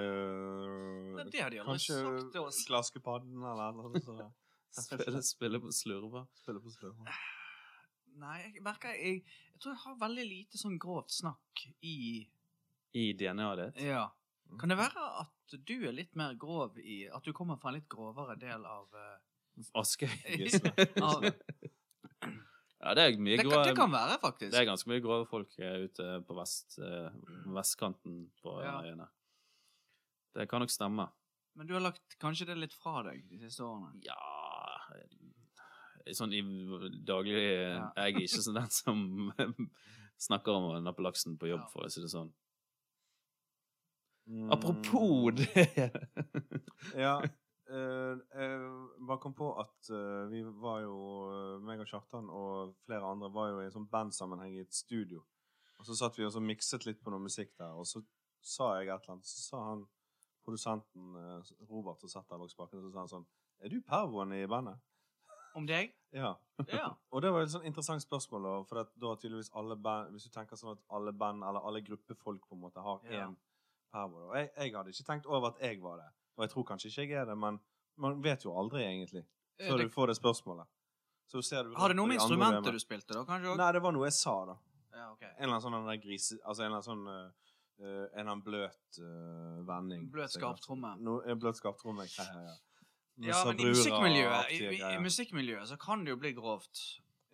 Eh,
Nei, det har de aldri
kanskje
sagt til oss.
glaskepadden eller noe sånt.
Spille, spille på slurver.
Spille på spørsmål.
Nei, jeg merker jeg, jeg tror jeg har veldig lite sånn grovt snakk i
I DNA-et ditt.
Ja.
Mm.
Kan det være at du er litt mer grov i At du kommer fra en litt grovere del av eh,
Askøy.
(laughs)
Gisle.
av-
Gisle.
det,
Ja, det er mye
kan, det
grove
kan være, faktisk.
Det er ganske mye grove folk eh, ute på vest, eh, vestkanten på
Ja.
øyene. Det kan nok stemme.
Men du har lagt kanskje det litt fra deg de siste årene.
Ja Sånn i daglig
Ja.
Jeg er ikke sånn den som (laughs) snakker om å nappe laksen på jobb,
Ja.
for å si det sånn.
Mm,
Apropos det
Ja. eh, jeg bare kom på at eh, vi var jo eh, meg og Kjartan og flere andre var jo i en sånn bandsammenheng i et studio. Og så satt vi og så mikset litt på noe musikk der, og så sa jeg et eller annet. Så sa han produsenten eh, Robert som satt der bak spaken, så sa han sånn Er du pervoen i bandet?
Om deg?
Ja.
Ja.
(laughs) Og det var et sånn interessant spørsmål, da, for at da tydeligvis alle band Hvis du tenker sånn at alle band, eller alle gruppefolk, på en måte har én
Ja.
pervo Og jeg, jeg hadde ikke tenkt over at jeg var det, og jeg tror kanskje ikke jeg er det, men man vet jo aldri, egentlig,
Eh,
før
det,
du får det spørsmålet. Så ser du
har det noe med
de andre
instrumentet
er
du
med.
spilte, da? Kanskje òg?
Nei, det var noe jeg sa, da.
Ja, ok.
En eller annen sånn den der grise... Altså en eller annen sånn eh, eh, En eller annen bløt eh, vending.
Bløt
sikkert.
skarptromme.
No, en bløt skarptromme. Ja, ja, ja. Noe
Ja, men i
sabrura-aktige
musikkmiljøet, i, i, i
greier.
musikkmiljøet så kan det jo bli grovt.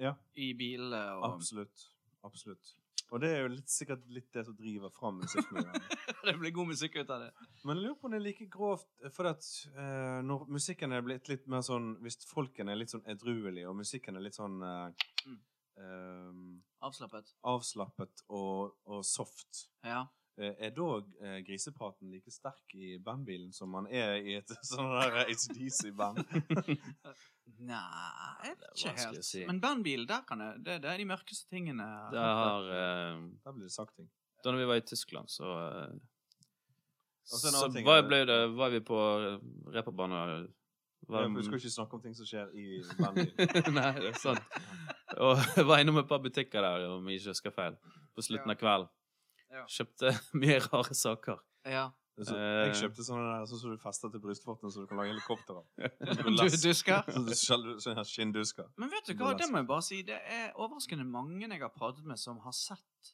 Ja.
I bilene og
Absolutt. Absolutt. Og det er jo litt, sikkert litt det som driver fram musikkmiljøet.
(laughs) Det blir god musikk ut av det.
Men jeg lurer på om det er like grovt For at eh, når musikken er blitt litt mer sånn Hvis folken er litt sånn edruelig, og musikken er litt sånn eh,
Mm.
eh,
Avslappet.
avslappet og, og soft.
Ja.
Eh, Er da eh, grisepraten like sterk i bandbilen som man er i et (laughs) sånn der ACDC-band?
Nei, jeg vet
Det er
ikke
vanskelig å
helt.
si.
Men bandbil, der kan jeg, det, det er de mørkeste tingene.
Det har eh,
Der blir det sagt ting.
Da når vi var i Tyskland, så eh,
Og så en
Så
annen ting
var,
er-
ble det, var vi på eh, reperbane
Ja,
var-
men Vi skal ikke snakke om ting som skjer i bandbilen.
(laughs) Nei, det er sant. Og (laughs) var innom et par butikker der, om jeg ikke husker feil, på slutten
Ja.
av kvelden.
Ja.
Kjøpte (laughs) mye rare saker.
Ja.
Så
Eh.
jeg kjøpte sånne der sånn som du fester til brystvorten, så du kan
(laughs)
lage helikopter av.
Du
(laughs)
dusker.
Sånn som du- sånne her skinndusker.
Men vet du hva, det må jeg bare si. Det er overraskende mange jeg har pratet med, som har sett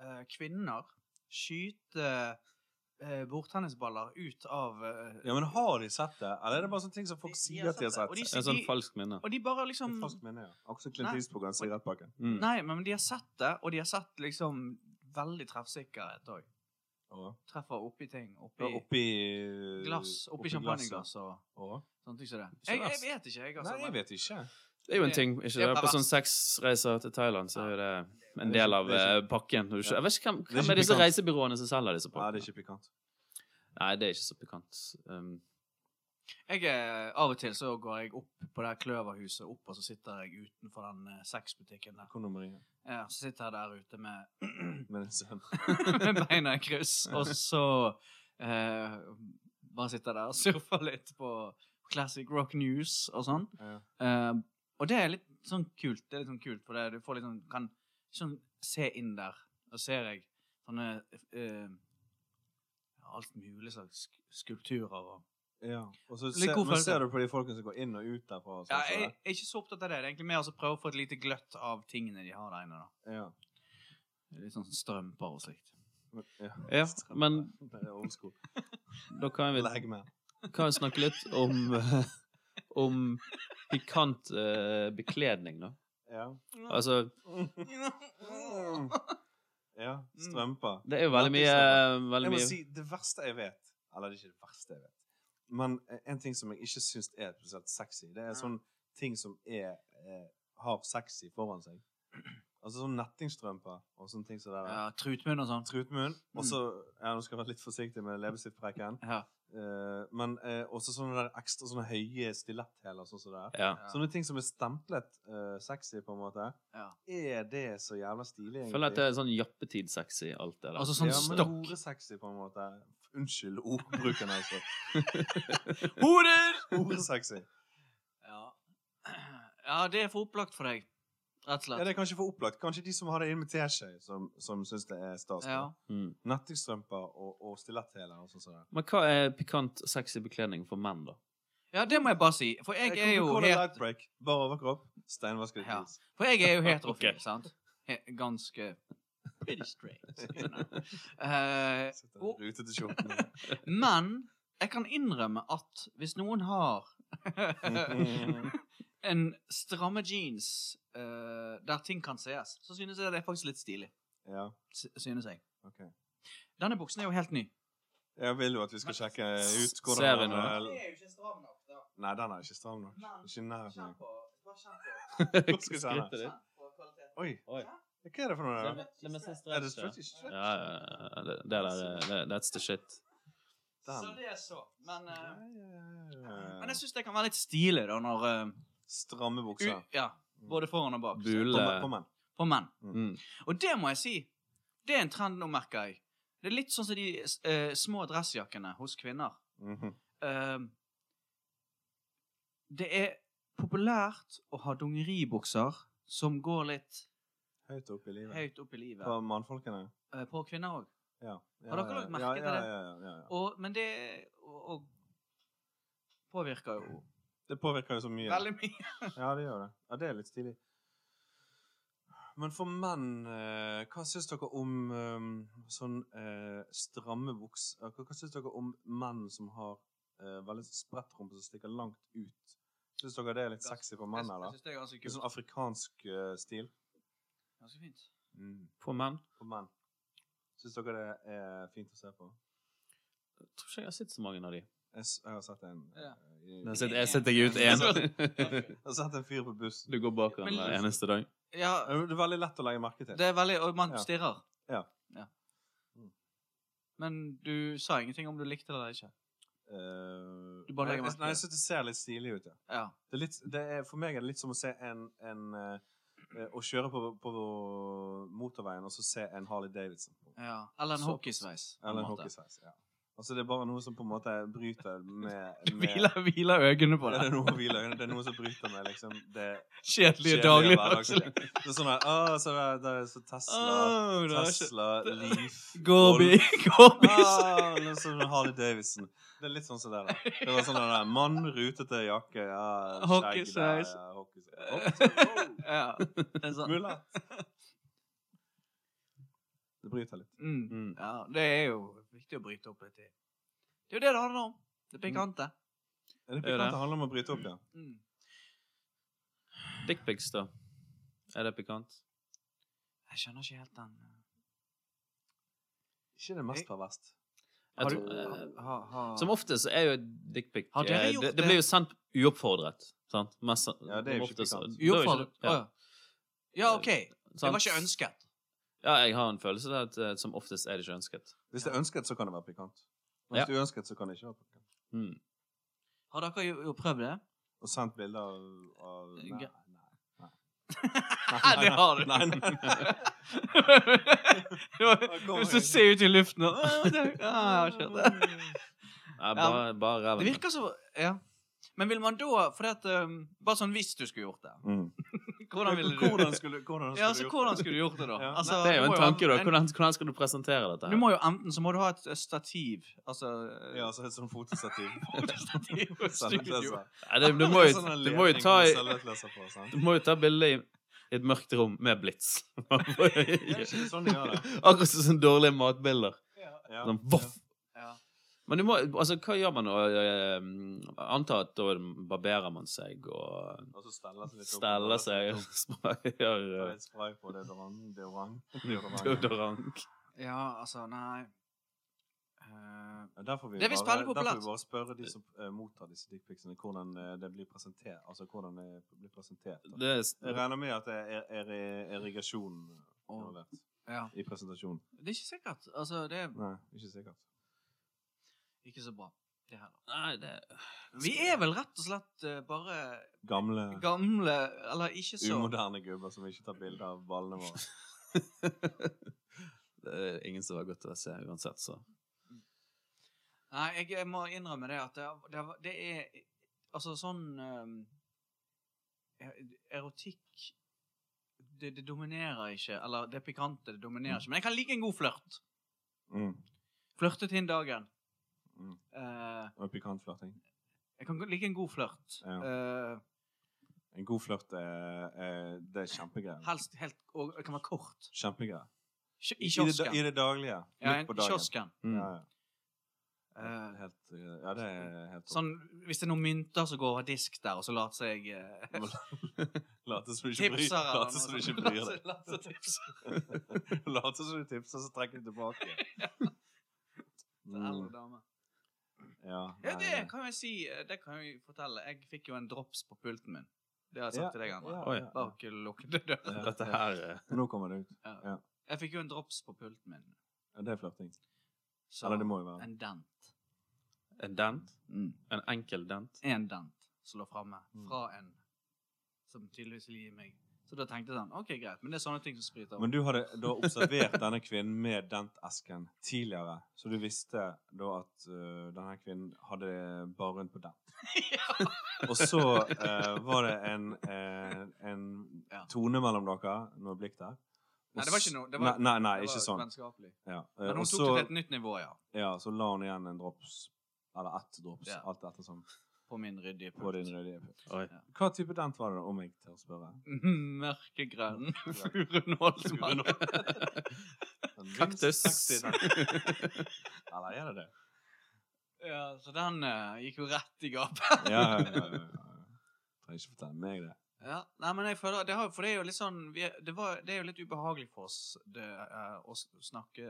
eh, kvinner skyte eh, bordtennisballer ut av eh,
Ja, men har de sett det? Eller er det bare sånne ting som folk sier at de har sett?
Og de
En
sier-
sånn falsk minne.
Og de bare
Det
liksom
er falskt minne, ja. Akkurat som
Nei.
Clint Eastwood og en sigarettpakke.
Mm.
Nei, men de har sett det, og de har sett liksom veldig treffsikkerhet òg.
Og-
Treffer oppi ting. Oppi
og Oppi
glass. Oppi
glasset.
champagneglass og
Og-
sånne ting som det.
Så
Jeg, jeg
verst.
vet ikke, jeg. Altså,
Nei, jeg vet ikke.
Det er jo en ting. ikke
Det er
det? På
perverst.
sånn sexreiser til Thailand så er jo det en
Det er
del
ikke-
av
det er
eh, pakken. når du kjø- Jeg vet ikke hvem,
Det er
hvem
ikke
er disse
pikant.
reisebyråene som selger disse
Nei, det er
pakkene.
ikke pikant.
Nei, det er ikke så pikant. Um,
Jeg er, av og til så går jeg opp på det her kløverhuset opp, og så sitter jeg utenfor den eh, sexbutikken der.
Kondomeriet.
Ja, så sitter jeg der ute med, (laughs)
Men en sønn.
med beina i kryss, og så eh, bare sitter jeg der og surfer litt på classic rock news og sånn.
Ja.
Eh, og det er litt sånn kult, det er litt sånn kult, for det, du får litt sånn, kan sånn, se inn der, og ser jeg sånne eh, alt mulig slags skulpturer og
Ja. Og så
Litt
ser,
god
men
følelse.
ser du på de folkene som går inn og ut derfra. Og
Ja,
sånn, så
jeg,
det-
jeg er ikke så opptatt av det. Det er egentlig mer å prøve å få et lite gløtt av tingene de har der inne. da.
ja.
Litt sånn strømper og
(laughs)
slikt.
Men- ja.
ja, men
(laughs) Det er old school.
da kan vi
Legg med.
kan vi snakke litt om (laughs) eh, om pikant eh, bekledning, da.
Ja.
Altså,
(laughs) ja. Strømper.
det er jo Mm. veldig mye,
Jeg
veldig
må
mye
si det verste jeg vet Eller det er ikke det verste jeg vet. Men eh, en ting som jeg ikke syns er spesielt sexy, det er sånn ting som er, eh, har sexy foran seg. Altså sånn nettingstrømper og sånne ting som det der.
Ja, Trutmunn og sånn.
Trutmunn. Og
Mm.
så ja, Nå skal jeg være litt forsiktig med leppestiftpreken.
Ja.
Eh, men eh, også sånne der ekstra sånne høye stiletthæler. Sånn som det er.
ja.
Ja.
Sånne ting som er stemplet eh, sexy, på en måte.
Ja.
Er det så jævla stilig,
Jeg
egentlig?
føler at det er sånn jappetid-sexy, alt det der.
Altså sånn
ja, men
stokk.
horesexy, på en måte. Unnskyld ordbruken, altså. (laughs)
Hoder!
Horesexy.
Ja. ja, det er for opplagt for deg. Rett og
Ja,
slett.
det er kanskje for opplagt. Kanskje de som har det inn med teskje, som, som syns det er stas.
Ja.
mm.
Nettingstrømper og, og stiletthæler og sånn som det.
Men hva er pikant, sexy bekledning for menn, da?
ja, det må jeg bare si. For jeg er jo
Coca-Cola
helt
Light Break. Bare overkropp. Steinvasket
Ja.
jeans.
For jeg
(laughs)
er jo heterofil,
Ok.
sant? He ganske Pretty straight. You know. (laughs) Eh,
Sitter
og-
i rutete
(laughs)
skjorten.
men jeg kan innrømme at hvis noen har
(laughs)
en stramme jeans eh, der ting kan sees, så synes jeg det er faktisk litt stilig.
ja,
s- Synes jeg.
ok.
Denne buksen er jo helt ny.
Jeg vil jo at vi skal sjekke ut
Ser
hvordan
vi
den
noe?
er.
jo ikke stram nok, da.
Nei, den er ikke stram nok. Ikke i nærheten. av.
på,
skal vi se her.
Skrittet ditt.
kvaliteten.
Oi,
Oi.
hva er det for noe?
Det er
der?
med- det er med sånn
Er det
stretch, ja.
stretchy?
Ja, ja, ja, det, det der er- det, That's the shit.
Så
Den. Eh.
det er så. Men,
Ja,
eh,
ja, ja,
men jeg
ja.
syns det kan være litt stilig, da, når
Stramme
eh,
bukser. Mm.
u- Ja. Både foran og bak.
Kom igjen,
Bule
kom igjen.
På menn.
mm.
Og det må jeg si. Det er en trend nå, merker jeg. Det er litt sånn som de eh, små dressjakkene hos kvinner.
Mhm.
Eh, det er populært å ha dongeribukser som går litt
Høyt opp i livet.
høyt opp i livet.
På mannfolkene.
eh, på kvinner òg.
Ja. Ja,
Har dere
ja,
lagt
ja.
merke
Ja,
til
ja,
det?
ja, ja, ja, ja.
Men det og, og påvirker jo
Det påvirker jo så mye.
veldig mye.
Ja, det gjør det. Ja, det er litt stilig. Men for menn, eh, hva syns dere om eh, sånn eh, stramme buks... eh, Hva, hva syns dere om menn som har eh, veldig spredt rumpe som stikker langt ut? Syns dere det er litt sexy for
Jeg-
menn,
Jeg
eller?
synes det er ganske
Litt
kult.
sånn afrikansk eh, stil
Ganske fint.
mm.
På menn?
for menn. Syns dere det er fint å se på?
Jeg tror ikke jeg har sett så mange av de.
Jeg, s jeg har sett en eh,
Ja.
i-
Jeg setter jeg ut én. (laughs)
Jeg har sett en fyr på bussen. Eh,
Du går bak den hver eneste dag.
Ja,
Det er veldig lett å legge merke til.
det er veldig Og man
Ja.
stirrer.
Ja. Mm.
Men du sa ingenting om du likte det eller ikke.
Eh,
Du bare legger
nei,
merke
Nei, jeg
til
synes det ser litt stilig ut, ja.
Ja.
Det er litt, det er, for meg er det litt som å se en, en eh, eh, Å kjøre på, på motorveien og så se en Harley Davidson.
ja. Eller en
Så-
hockeysveis. på en
Eller en
måte. (laughs)
hockeysveis. Ja. Altså, det er bare noe som på en måte bryter
(laughs)
med, med
Hviler, hviler øynene på
(laughs) Ja, det
det.
er noe hviler øynene. Det er noe som bryter med liksom
(laughs)
det
Kjedelige
kjedelige
dagligdagse.
hverdagslivet. Det er sånn her Å, så det er, det er så Tesla
Åh, det er ikke-
Tesla, Leaf
Gorby.
Golf.
Gorby.
Ah, noe sånn Harley Davidson. Det er litt sånn som det, da. Det var sånn den der mann, rutete jakke, ja, skjegg der,
Hockeysveis.
ja, hockeysveis. Hockeysveis. wow.
ja. Det er sånn.
Mulighet. Det bryter litt.
Mm.
(laughs) Mm.
Ja, det er jo viktig å bryte opp litt i. Det er jo det det handler om. Det pikante.
Er det
Er det?
pikant? Det handler om å bryte opp, ja.
Mm.
Dickpics, da. Er det pikant?
Jeg skjønner ikke helt den eh,
Ikke det mest perverst.
Jeg
Har du-
tror, eh,
ha- ha-
som ofte så er jo et dickpic
Har dere
eh,
gjort
det,
det?
det blir jo sendt uoppfordret. Sant? Mest,
Ja, det er jo
som
ikke
oftest-
pikant.
det er jo ikke-
Uoppfordret? Å,
Ja,
Ja. ja, OK. Det
sant?
var ikke ønsket.
Ja, jeg har en følelse av at eh, som oftest er det ikke ønsket.
Hvis det er ønsket, så kan det være pikant. Men
Ja.
Hvis det er uønsket, så kan det ikke være pikant.
Mm.
Har dere jo, jo prøvd det?
Og sendt bilder av, av Nei.
Ge-
nei,
Nei, (laughs) det har du.
Nei, (laughs) nei, nei.
(laughs) det var,
kommer
hvis du
jeg.
ser ut i luften og «Å, det- ja, jeg har kjørt det.
Nei, bare, bare ræven.
Det virker så Ja. Men vil man da For det at, um, Bare sånn hvis du skulle gjort det.
Mm.
Hvordan ville du
Hvordan skulle, hvordan skulle
Ja,
du
altså,
gjort
hvordan
det?
skulle du gjort (laughs) det, da?
Ja.
Altså,
Det er jo
du
en
må
tanke, da.
en-
Hvordan, hvordan skal du presentere dette?
Du
her?
må jo enten så må du ha et eh, stativ Altså (laughs)
Ja, altså et sånn fotostativ.
stativ (laughs) og
Sånn,
studio.
Selvleser.
Nei, det, du, må jo,
Sånn en
du, må jo
ledning
ta,
med
i-
selvleser på, sant?
du må jo ta bilde i i et mørkt rom med blits. (laughs) Man må jo
Det er
gjøre-
ikke sånn de gjør det.
Akkurat som sånne dårlige matbilder.
Ja.
Sånn, voff.
Ja.
Men du må, altså, hva gjør man nå? Jeg antar at da barberer man seg og
Og så steller seg litt opp.
steller seg og (laughs) sprayer
Og
eh,
litt spray på deodorant.
(laughs)
deodorant- deodorant.
deodorant.
ja, altså, nei Eh,
Ja, Derfor vil
Det er
vi
visst
bare,
veldig
derfor vil
populært.
vi bare spørre de som eh, mottar disse dickpicsene, hvordan eh, det blir presentert. Altså hvordan det blir presentert. da.
Det er s-
Jeg regner med at det er, er, er irrigasjon involvert
ja.
i presentasjonen.
Det er ikke sikkert. Altså, det er
Nei, ikke sikkert.
ikke så bra, det heller.
Nei, det
Vi er vel rett og slett eh, bare
Gamle,
gamle Eller ikke så
umoderne gubber som ikke tar bilde av ballene våre.
(laughs)
(laughs)
Det er ingen som var godt å se uansett, så
Nei, jeg, jeg må innrømme det at det, det, det er Altså sånn eh, er- Erotikk det, det dominerer ikke. Eller det pikante det dominerer ikke. Men jeg kan like en god flørt.
Mm.
Flørte til en dagen.
Mm.
Eh,
Og pikantflørting.
jeg kan like en god flørt.
Ja.
Eh,
En god flørt er, er, det er kjempegreier.
helst helt Og det kan være kort.
Kjempegreier.
Kj-
I,
I
det da-
kiosken.
I det daglige.
ja,
Midt
en,
på
i
dagen.
kiosken.
mm.
Ja, ja.
Eh,
Helt, eh, ja, det er helt topp.
sånn, hvis det er noen mynter som går av disk der, og så later seg eh,
Late som du ikke bryr
tipser sånn. eller
late som du
noe sånt.
ikke bryr deg.
(laughs) Later- later tipser.
(laughs) Late som du tipser, så trekker
(laughs)
du tilbake.
til eldre
Mm,
dame.
ja,
Ja,
nei,
det kan jeg si. eh, Det kan jeg fortelle. Jeg fikk jo en drops på pulten min. Det har jeg sagt til deg, André.
ja,
Oi.
ja, ja.
Bak lukkede dører. (laughs)
Dette her eh,
Nå kommer det ut.
Jeg fikk jo en drops på pulten min.
Ja, Det er flørting.
Så
Eller det må jo være.
en dent.
En dent?
Mm.
En enkel dent?
En dent som lå framme
Mm.
fra en som tydeligvis ville gi meg. Så da tenkte jeg sånn OK, greit. Men det er sånne ting som spriter.
Men du hadde da observert denne kvinnen med dentesken tidligere, så du visste da at øh, denne kvinnen hadde bare rundt
(laughs)
på dent. Og så øh, var det en, eh, en
Ja.
tone mellom dere, noe blikk der. Og
Nei, det var ikke noe- det
Nei,
var-
nei, nei,
Det
ikke
var
sånn.
Vennskapelig.
Ja. eh,
Men hun tok
og
det til
så,
et nytt nivå, ja.
ja, så la hun igjen en drops, eller ett drops,
Ja.
alt etter som
På min ryddige
på din
pult.
røde
Oi.
Hva type dent var det, om jeg tør spørre?
(laughs) Mørkegrønn (laughs) furunålsmann.
Kaktus.
Sexy dent.
(laughs)
Eller er det det?
Ja, så den eh, gikk jo rett i gapet.
ja, ja, ja, ja, ja. Trenger ikke fortelle meg det.
Ja, nei, men jeg føler det har, For det er jo litt sånn vi, er- det, var, det er jo litt ubehagelig for oss det, eh, å s- snakke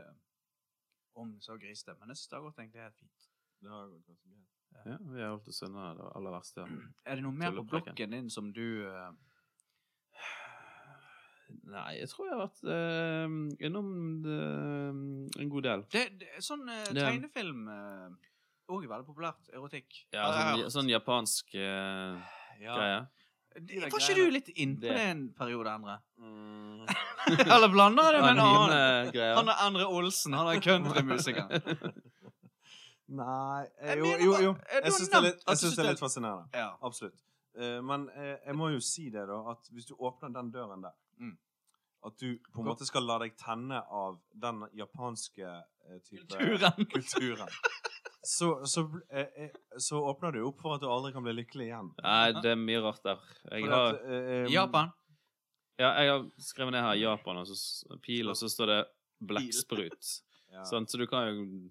om så grisete, men jeg synes det har gått egentlig helt fint.
Det har gått ganske greit.
Ja, vi har holdt oss unna det aller verste.
Er det noe mer på
Tullepreken.
blokken din som du eh,
Nei, jeg tror jeg har vært eh, innom eh, en god del.
Det, det, sånn eh,
Det-
tegnefilm eh, også er veldig populært. Erotikk.
Ja,
Har jeg
sånn,
hørt.
sånn japansk eh, greie.
Det- Var ikke du litt innpå
Det-
det en periode, Endre?
Mm.
(laughs) Eller blander jeg det med en annen? Han
Anonyme-greier.
er Endre Olsen. Han er countrymusikeren.
(laughs)
Nei eh,
Jeg
Jo,
mener
jo.
bare-
jo.
eh, du
Jeg
har
syns det, er
nevnt
litt-
at
jeg
du
synes det er
synes
litt fascinerende.
Ja.
Absolutt. Eh, Men eh, jeg må jo si det, da, at hvis du åpner den døren der
Mm.
At du på en måte skal la deg tenne av den japanske eh, type
Kulturen.
kulturen. Så, så, bl- eh, eh, så åpner du opp for at du aldri kan bli lykkelig igjen.
Nei, det er mye rart der. Jeg
Fordi
har
at, eh, eh,
Japan.
Ja, jeg har skrevet ned her Japan, og så s- pil, og så står det
(laughs)
blekksprut.
Ja,
Sånn, så du kan jo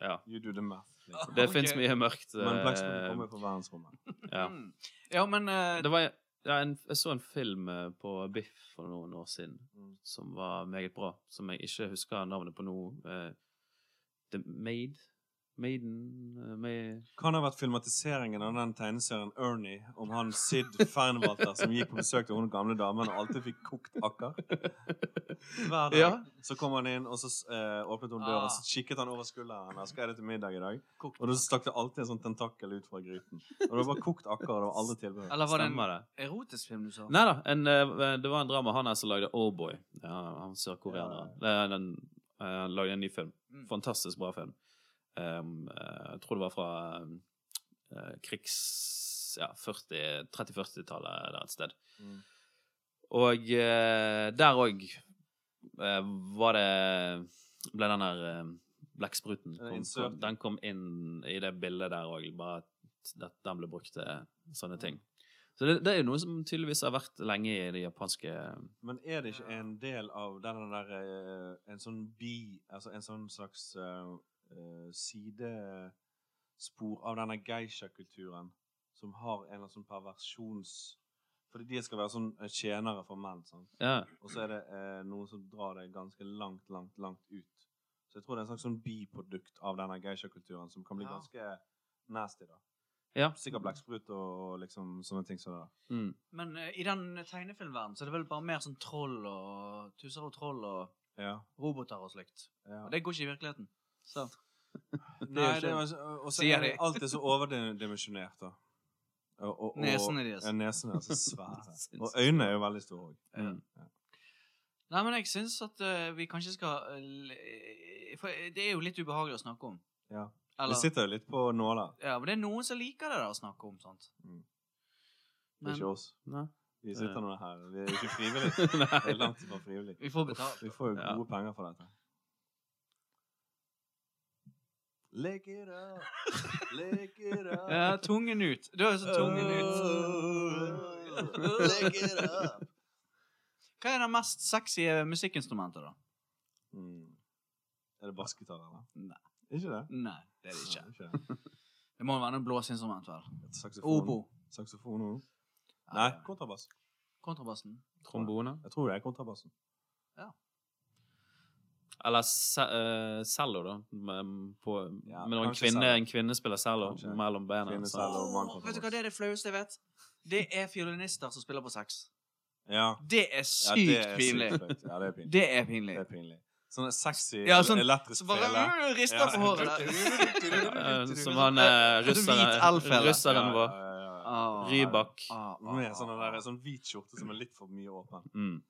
Ja.
You do the math. Liksom.
Det
Ah, Ok.
fins mye mørkt.
Men Blacksmith
eh,
kommer på verdensrommet.
ja.
Mm. ja, men eh,
Det var, ja, en, jeg så en film eh, på Biff for noen år siden
Mm.
som var meget bra, som jeg ikke husker navnet på nå. eh, The Maid? Maiden eh, Maid.
Kan ha vært filmatiseringen av den tegneserien Ernie om han Sid Fernwalter som gikk på besøk til hun gamle damen og alltid fikk kokt akker. Hver dag.
Ja.
Så kom han inn, og så eh, åpnet hun
Ah.
døra, så kikket han over skulderen hennes. Skal jeg det til middag i dag?
kokt.
Og da stakk det alltid en sånn tentakel ut fra gryten. Og det var kokt akker, og det var aldri tilbehør.
Eller var det en
Stemmer det?
erotisk film du sa?
Nei da, en, eh, det var en drama. Han her som lagde Oldboy. Ja, han sørkoreaneren. Det er den, eh, Han lagde en ny film.
Mm.
Fantastisk bra film. Um, eh, jeg tror det var fra um, eh, krigs... Ja, 40 30-40-tallet der et sted.
Mm.
Og eh, der òg eh, var det Ble den der eh, blekkspruten
Den
kom-
inserten.
Den kom inn i det bildet der òg, bare at det- den ble brukt til sånne ting. Så det, det er jo noe som tydeligvis har vært lenge i det japanske
Men er det ikke en del av den der eh, En sånn bi Altså en sånn slags eh, eh, sidespor av denne geisha-kulturen som har en eller annen sånn perversjons Fordi de skal være sånn eh, tjenere for menn, sant?
Ja,
og så er det eh, noen som drar det ganske langt, langt, langt ut. Så jeg tror det er en slags sånn biprodukt av denne geisha-kulturen som kan bli
Ja.
ganske nasty, da.
ja.
Sikkert blekksprut og liksom sånne ting som det der.
Mm.
Men eh, i den tegnefilmverdenen så er det vel bare mer sånn troll og tusser og troll og
Ja.
roboter og slikt.
ja.
Og det går ikke i virkeligheten. Så. Det er jo
Nei, det
ikke-
var, og så
Sier
er det
de.
alt er så overdimensjonert, da. Og, og, og,
Nesene deres.
Ja, nesene er så
(laughs)
svære.
Sinnssykt.
Og øynene er jo veldig store òg.
Mm.
Nei, men jeg syns at eh, vi kanskje skal eh, l- eh, For det er jo litt ubehagelig å snakke om.
Ja. Vi
Eller,
sitter jo litt på nåler.
ja, men det er noen som liker det der å snakke om, sant?
Mm. Det er
Men
ikke oss.
Nei. (laughs)
Vi sitter nå her. Vi er jo ikke
(laughs)
frivillige. Det er langt ifra frivillig.
vi får betalt.
Vi får jo
Ja.
gode penger for dette. Lick it up, lick it up.
Ja, tungen ut. Du er så tungen (laughs) ut.
Oh, lick it up.
Hva er det mest sexy musikkinstrumentet, da?
Mm. Er det bassgitar, eller?
Nei.
Ikke det?
Nei, det er det ikke.
Nei,
(laughs)
ikke. det.
Det må være noe blåseinstrument, vel.
Et saksofon.
Obo.
Saksofon og Nei, kontrabass.
Kontrabassen.
Trombone.
Jeg tror det er kontrabassen.
Eller se- eh, cello, da. Med, på,
Ja,
med en,
kanskje
kvinne,
cello.
en kvinne spiller cello
Kanskje.
mellom beina.
Kvinne
så-
cello. Eller
Åh, vet du hva,
mankontrabass.
det er det flaueste jeg vet. Det er fiolinister som spiller på sex.
Ja.
Det er
ja
sykt
det er
pinlig.
sykt flaut. Ja, det er pinlig.
Det er pinlig.
Det er pinlig. Sånn sexy,
Ja, sånn-
elektrisk
(laughs) Så bare
fele.
øh, rister på håret der.
Eh, Som han eh,
Sånn hvit
russeren,
elfele.
russeren
Ja,
vår.
ja, ja, ja.
(laughs) Ah,
Rybak.
ah, ah,
Med sånn,
ah.
der, sånn hvit skjorte som er litt for mye åpen.
Mm.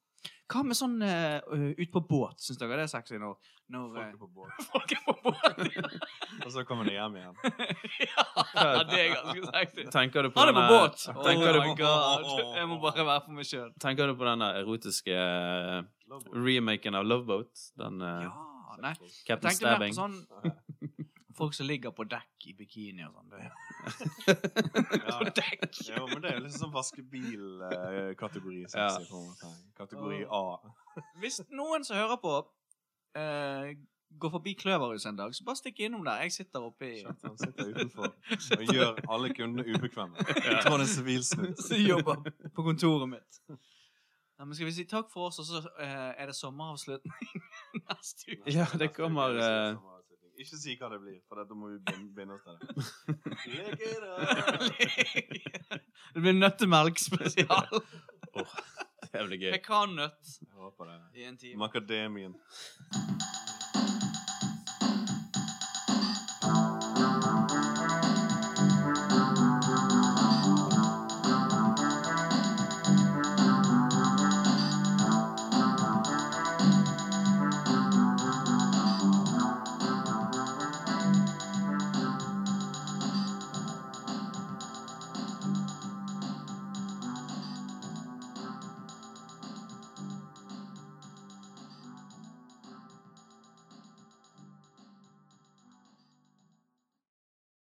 Hva med sånn eh, øh, ut på båt? Syns dere det er sexy når, når
Folk er
eh,
på båt.
folk er på båt?
(laughs) Og så kommer de hjem igjen.
(laughs) (laughs) ja, det er (laughs) ganske sexy.
ah. Tenker du på
Han er på
denne-
båt! Oh
Tenker du,
my god. (laughs) Jeg må bare være for meg sjøl.
tenker du på den der erotiske eh,
Loveboat.
remaken av Loveboat? Den eh,
Ja, Ah, nei. Jeg
Captain
tenkte mer på
Stabbing?
sånn
Ja,
folk som ligger på dekk i bikini og sånn. Det-
ja.
(laughs) På dekk!
Ja, men det er jo liksom sånn vaskebil-kategori. sexy,
Ja.
på en måte. Kategori A.
Hvis noen som hører på, eh, går forbi Kløverhus en dag, så bare stikk innom der. Jeg sitter oppe i (laughs)
Skjønt, Han sitter utenfor og gjør alle kundene ubekvemme. Jeg tror det er sivilsnitt.
som jobber på kontoret mitt. Ja, men skal vi si takk for oss, og så eh, er det sommeravslutning (laughs) neste uke?
Ja, det kommer, eh,
Ikke si hva det blir, for da må vi bin- binde oss til det. Lick it up.
det blir nøttemelk spesial.
(laughs) Det blir gøy.
Pekannøtt.
høre på det.
i en time.
(laughs)
Macadamien.